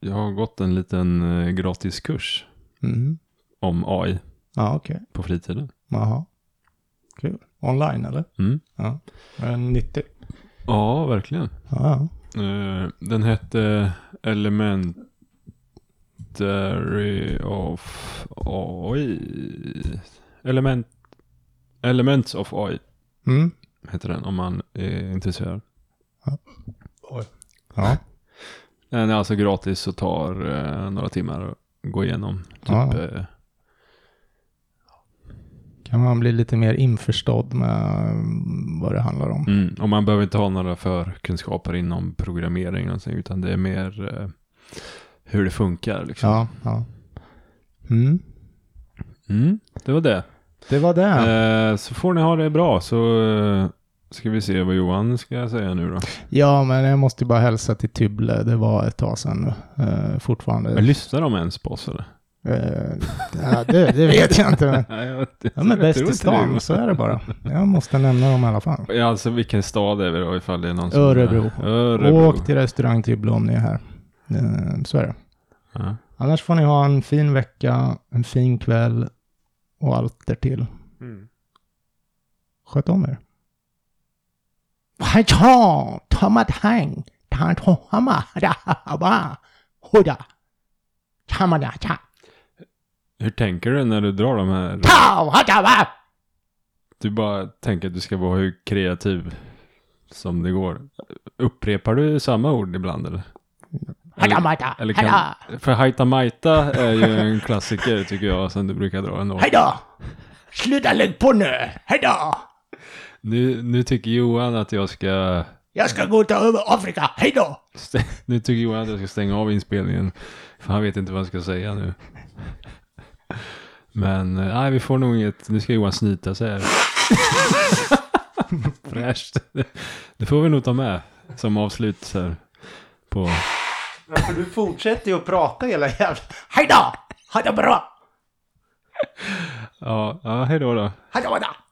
Jag har gått en liten eh, gratiskurs
Mm.
om AI
Ja, okej.
på fritiden.
Jaha. Kul. Online eller?
Mm.
Var den nyttig?
Ja, verkligen.
Ja,
Eh, Den hette Elementary of AI. Element, Elements of AI
ja. Mm.
heter den om man är intresserad.
Oj. Ja.
Den är alltså gratis och tar eh, några timmar att gå igenom. Typ,
Ja.
eh,
kan man bli lite mer införstådd med mm, vad det handlar om.
mm, och man behöver inte ha några förkunskaper inom programmering och sånt, utan det är mer eh, hur det funkar. Liksom.
Ja, ja. Mm.
Mm, det var det.
Det var det.
Eh, så får ni ha det bra så eh, ska vi se vad Johan ska säga nu då.
Ja, men jag måste ju bara hälsa till Tybble. Det var ett tag sedan nu. Eh, fortfarande.
Men lyssnar de ens på oss eller?
Eh, ja, det, det vet jag inte. [LAUGHS] Men
[LAUGHS] Nej, jag, jag,
de är bäst i stan, så är det bara. Jag måste nämna dem i alla fall.
Ja, alltså vilken stad är vi då ifall det är någon som...
Örebro.
Örebro.
Åk till restaurang Tybble om ni är här. Eh, så är det.
Ja.
Annars får ni ha en fin vecka, en fin kväll och allt därtill. Sköt om er. Hej då! Tomma tang! Tang tomma! Da haba! Hoda! Tomma da ta!
Hur tänker du när du drar de här?
Pow! Hada va!
Du bara tänker att du ska vara hur kreativ som det går. Upprepar du samma ord ibland eller?
Hada mata.
eller kan-
Hada.
För Haita Maita är ju en klassiker tycker jag som du brukar dra ändå.
Hada. Sluta lägg på nu. Hada.
Nu, nu tycker Johan att jag ska...
Jag ska gå och ta över Afrika. Hada.
stä- [LAUGHS] Nu tycker Johan att jag ska stänga av inspelningen. För han vet inte vad han ska säga nu. Men eh, nej, vi får nog inget... Nu ska Johan snyta sig här. [LAUGHS] Fräscht. Det får vi nog ta med som avslut så här. På...
Du fortsätter ju att prata hela jävla...
Hada. Hada bra.
Ja, ja hej då då.
Hada mata.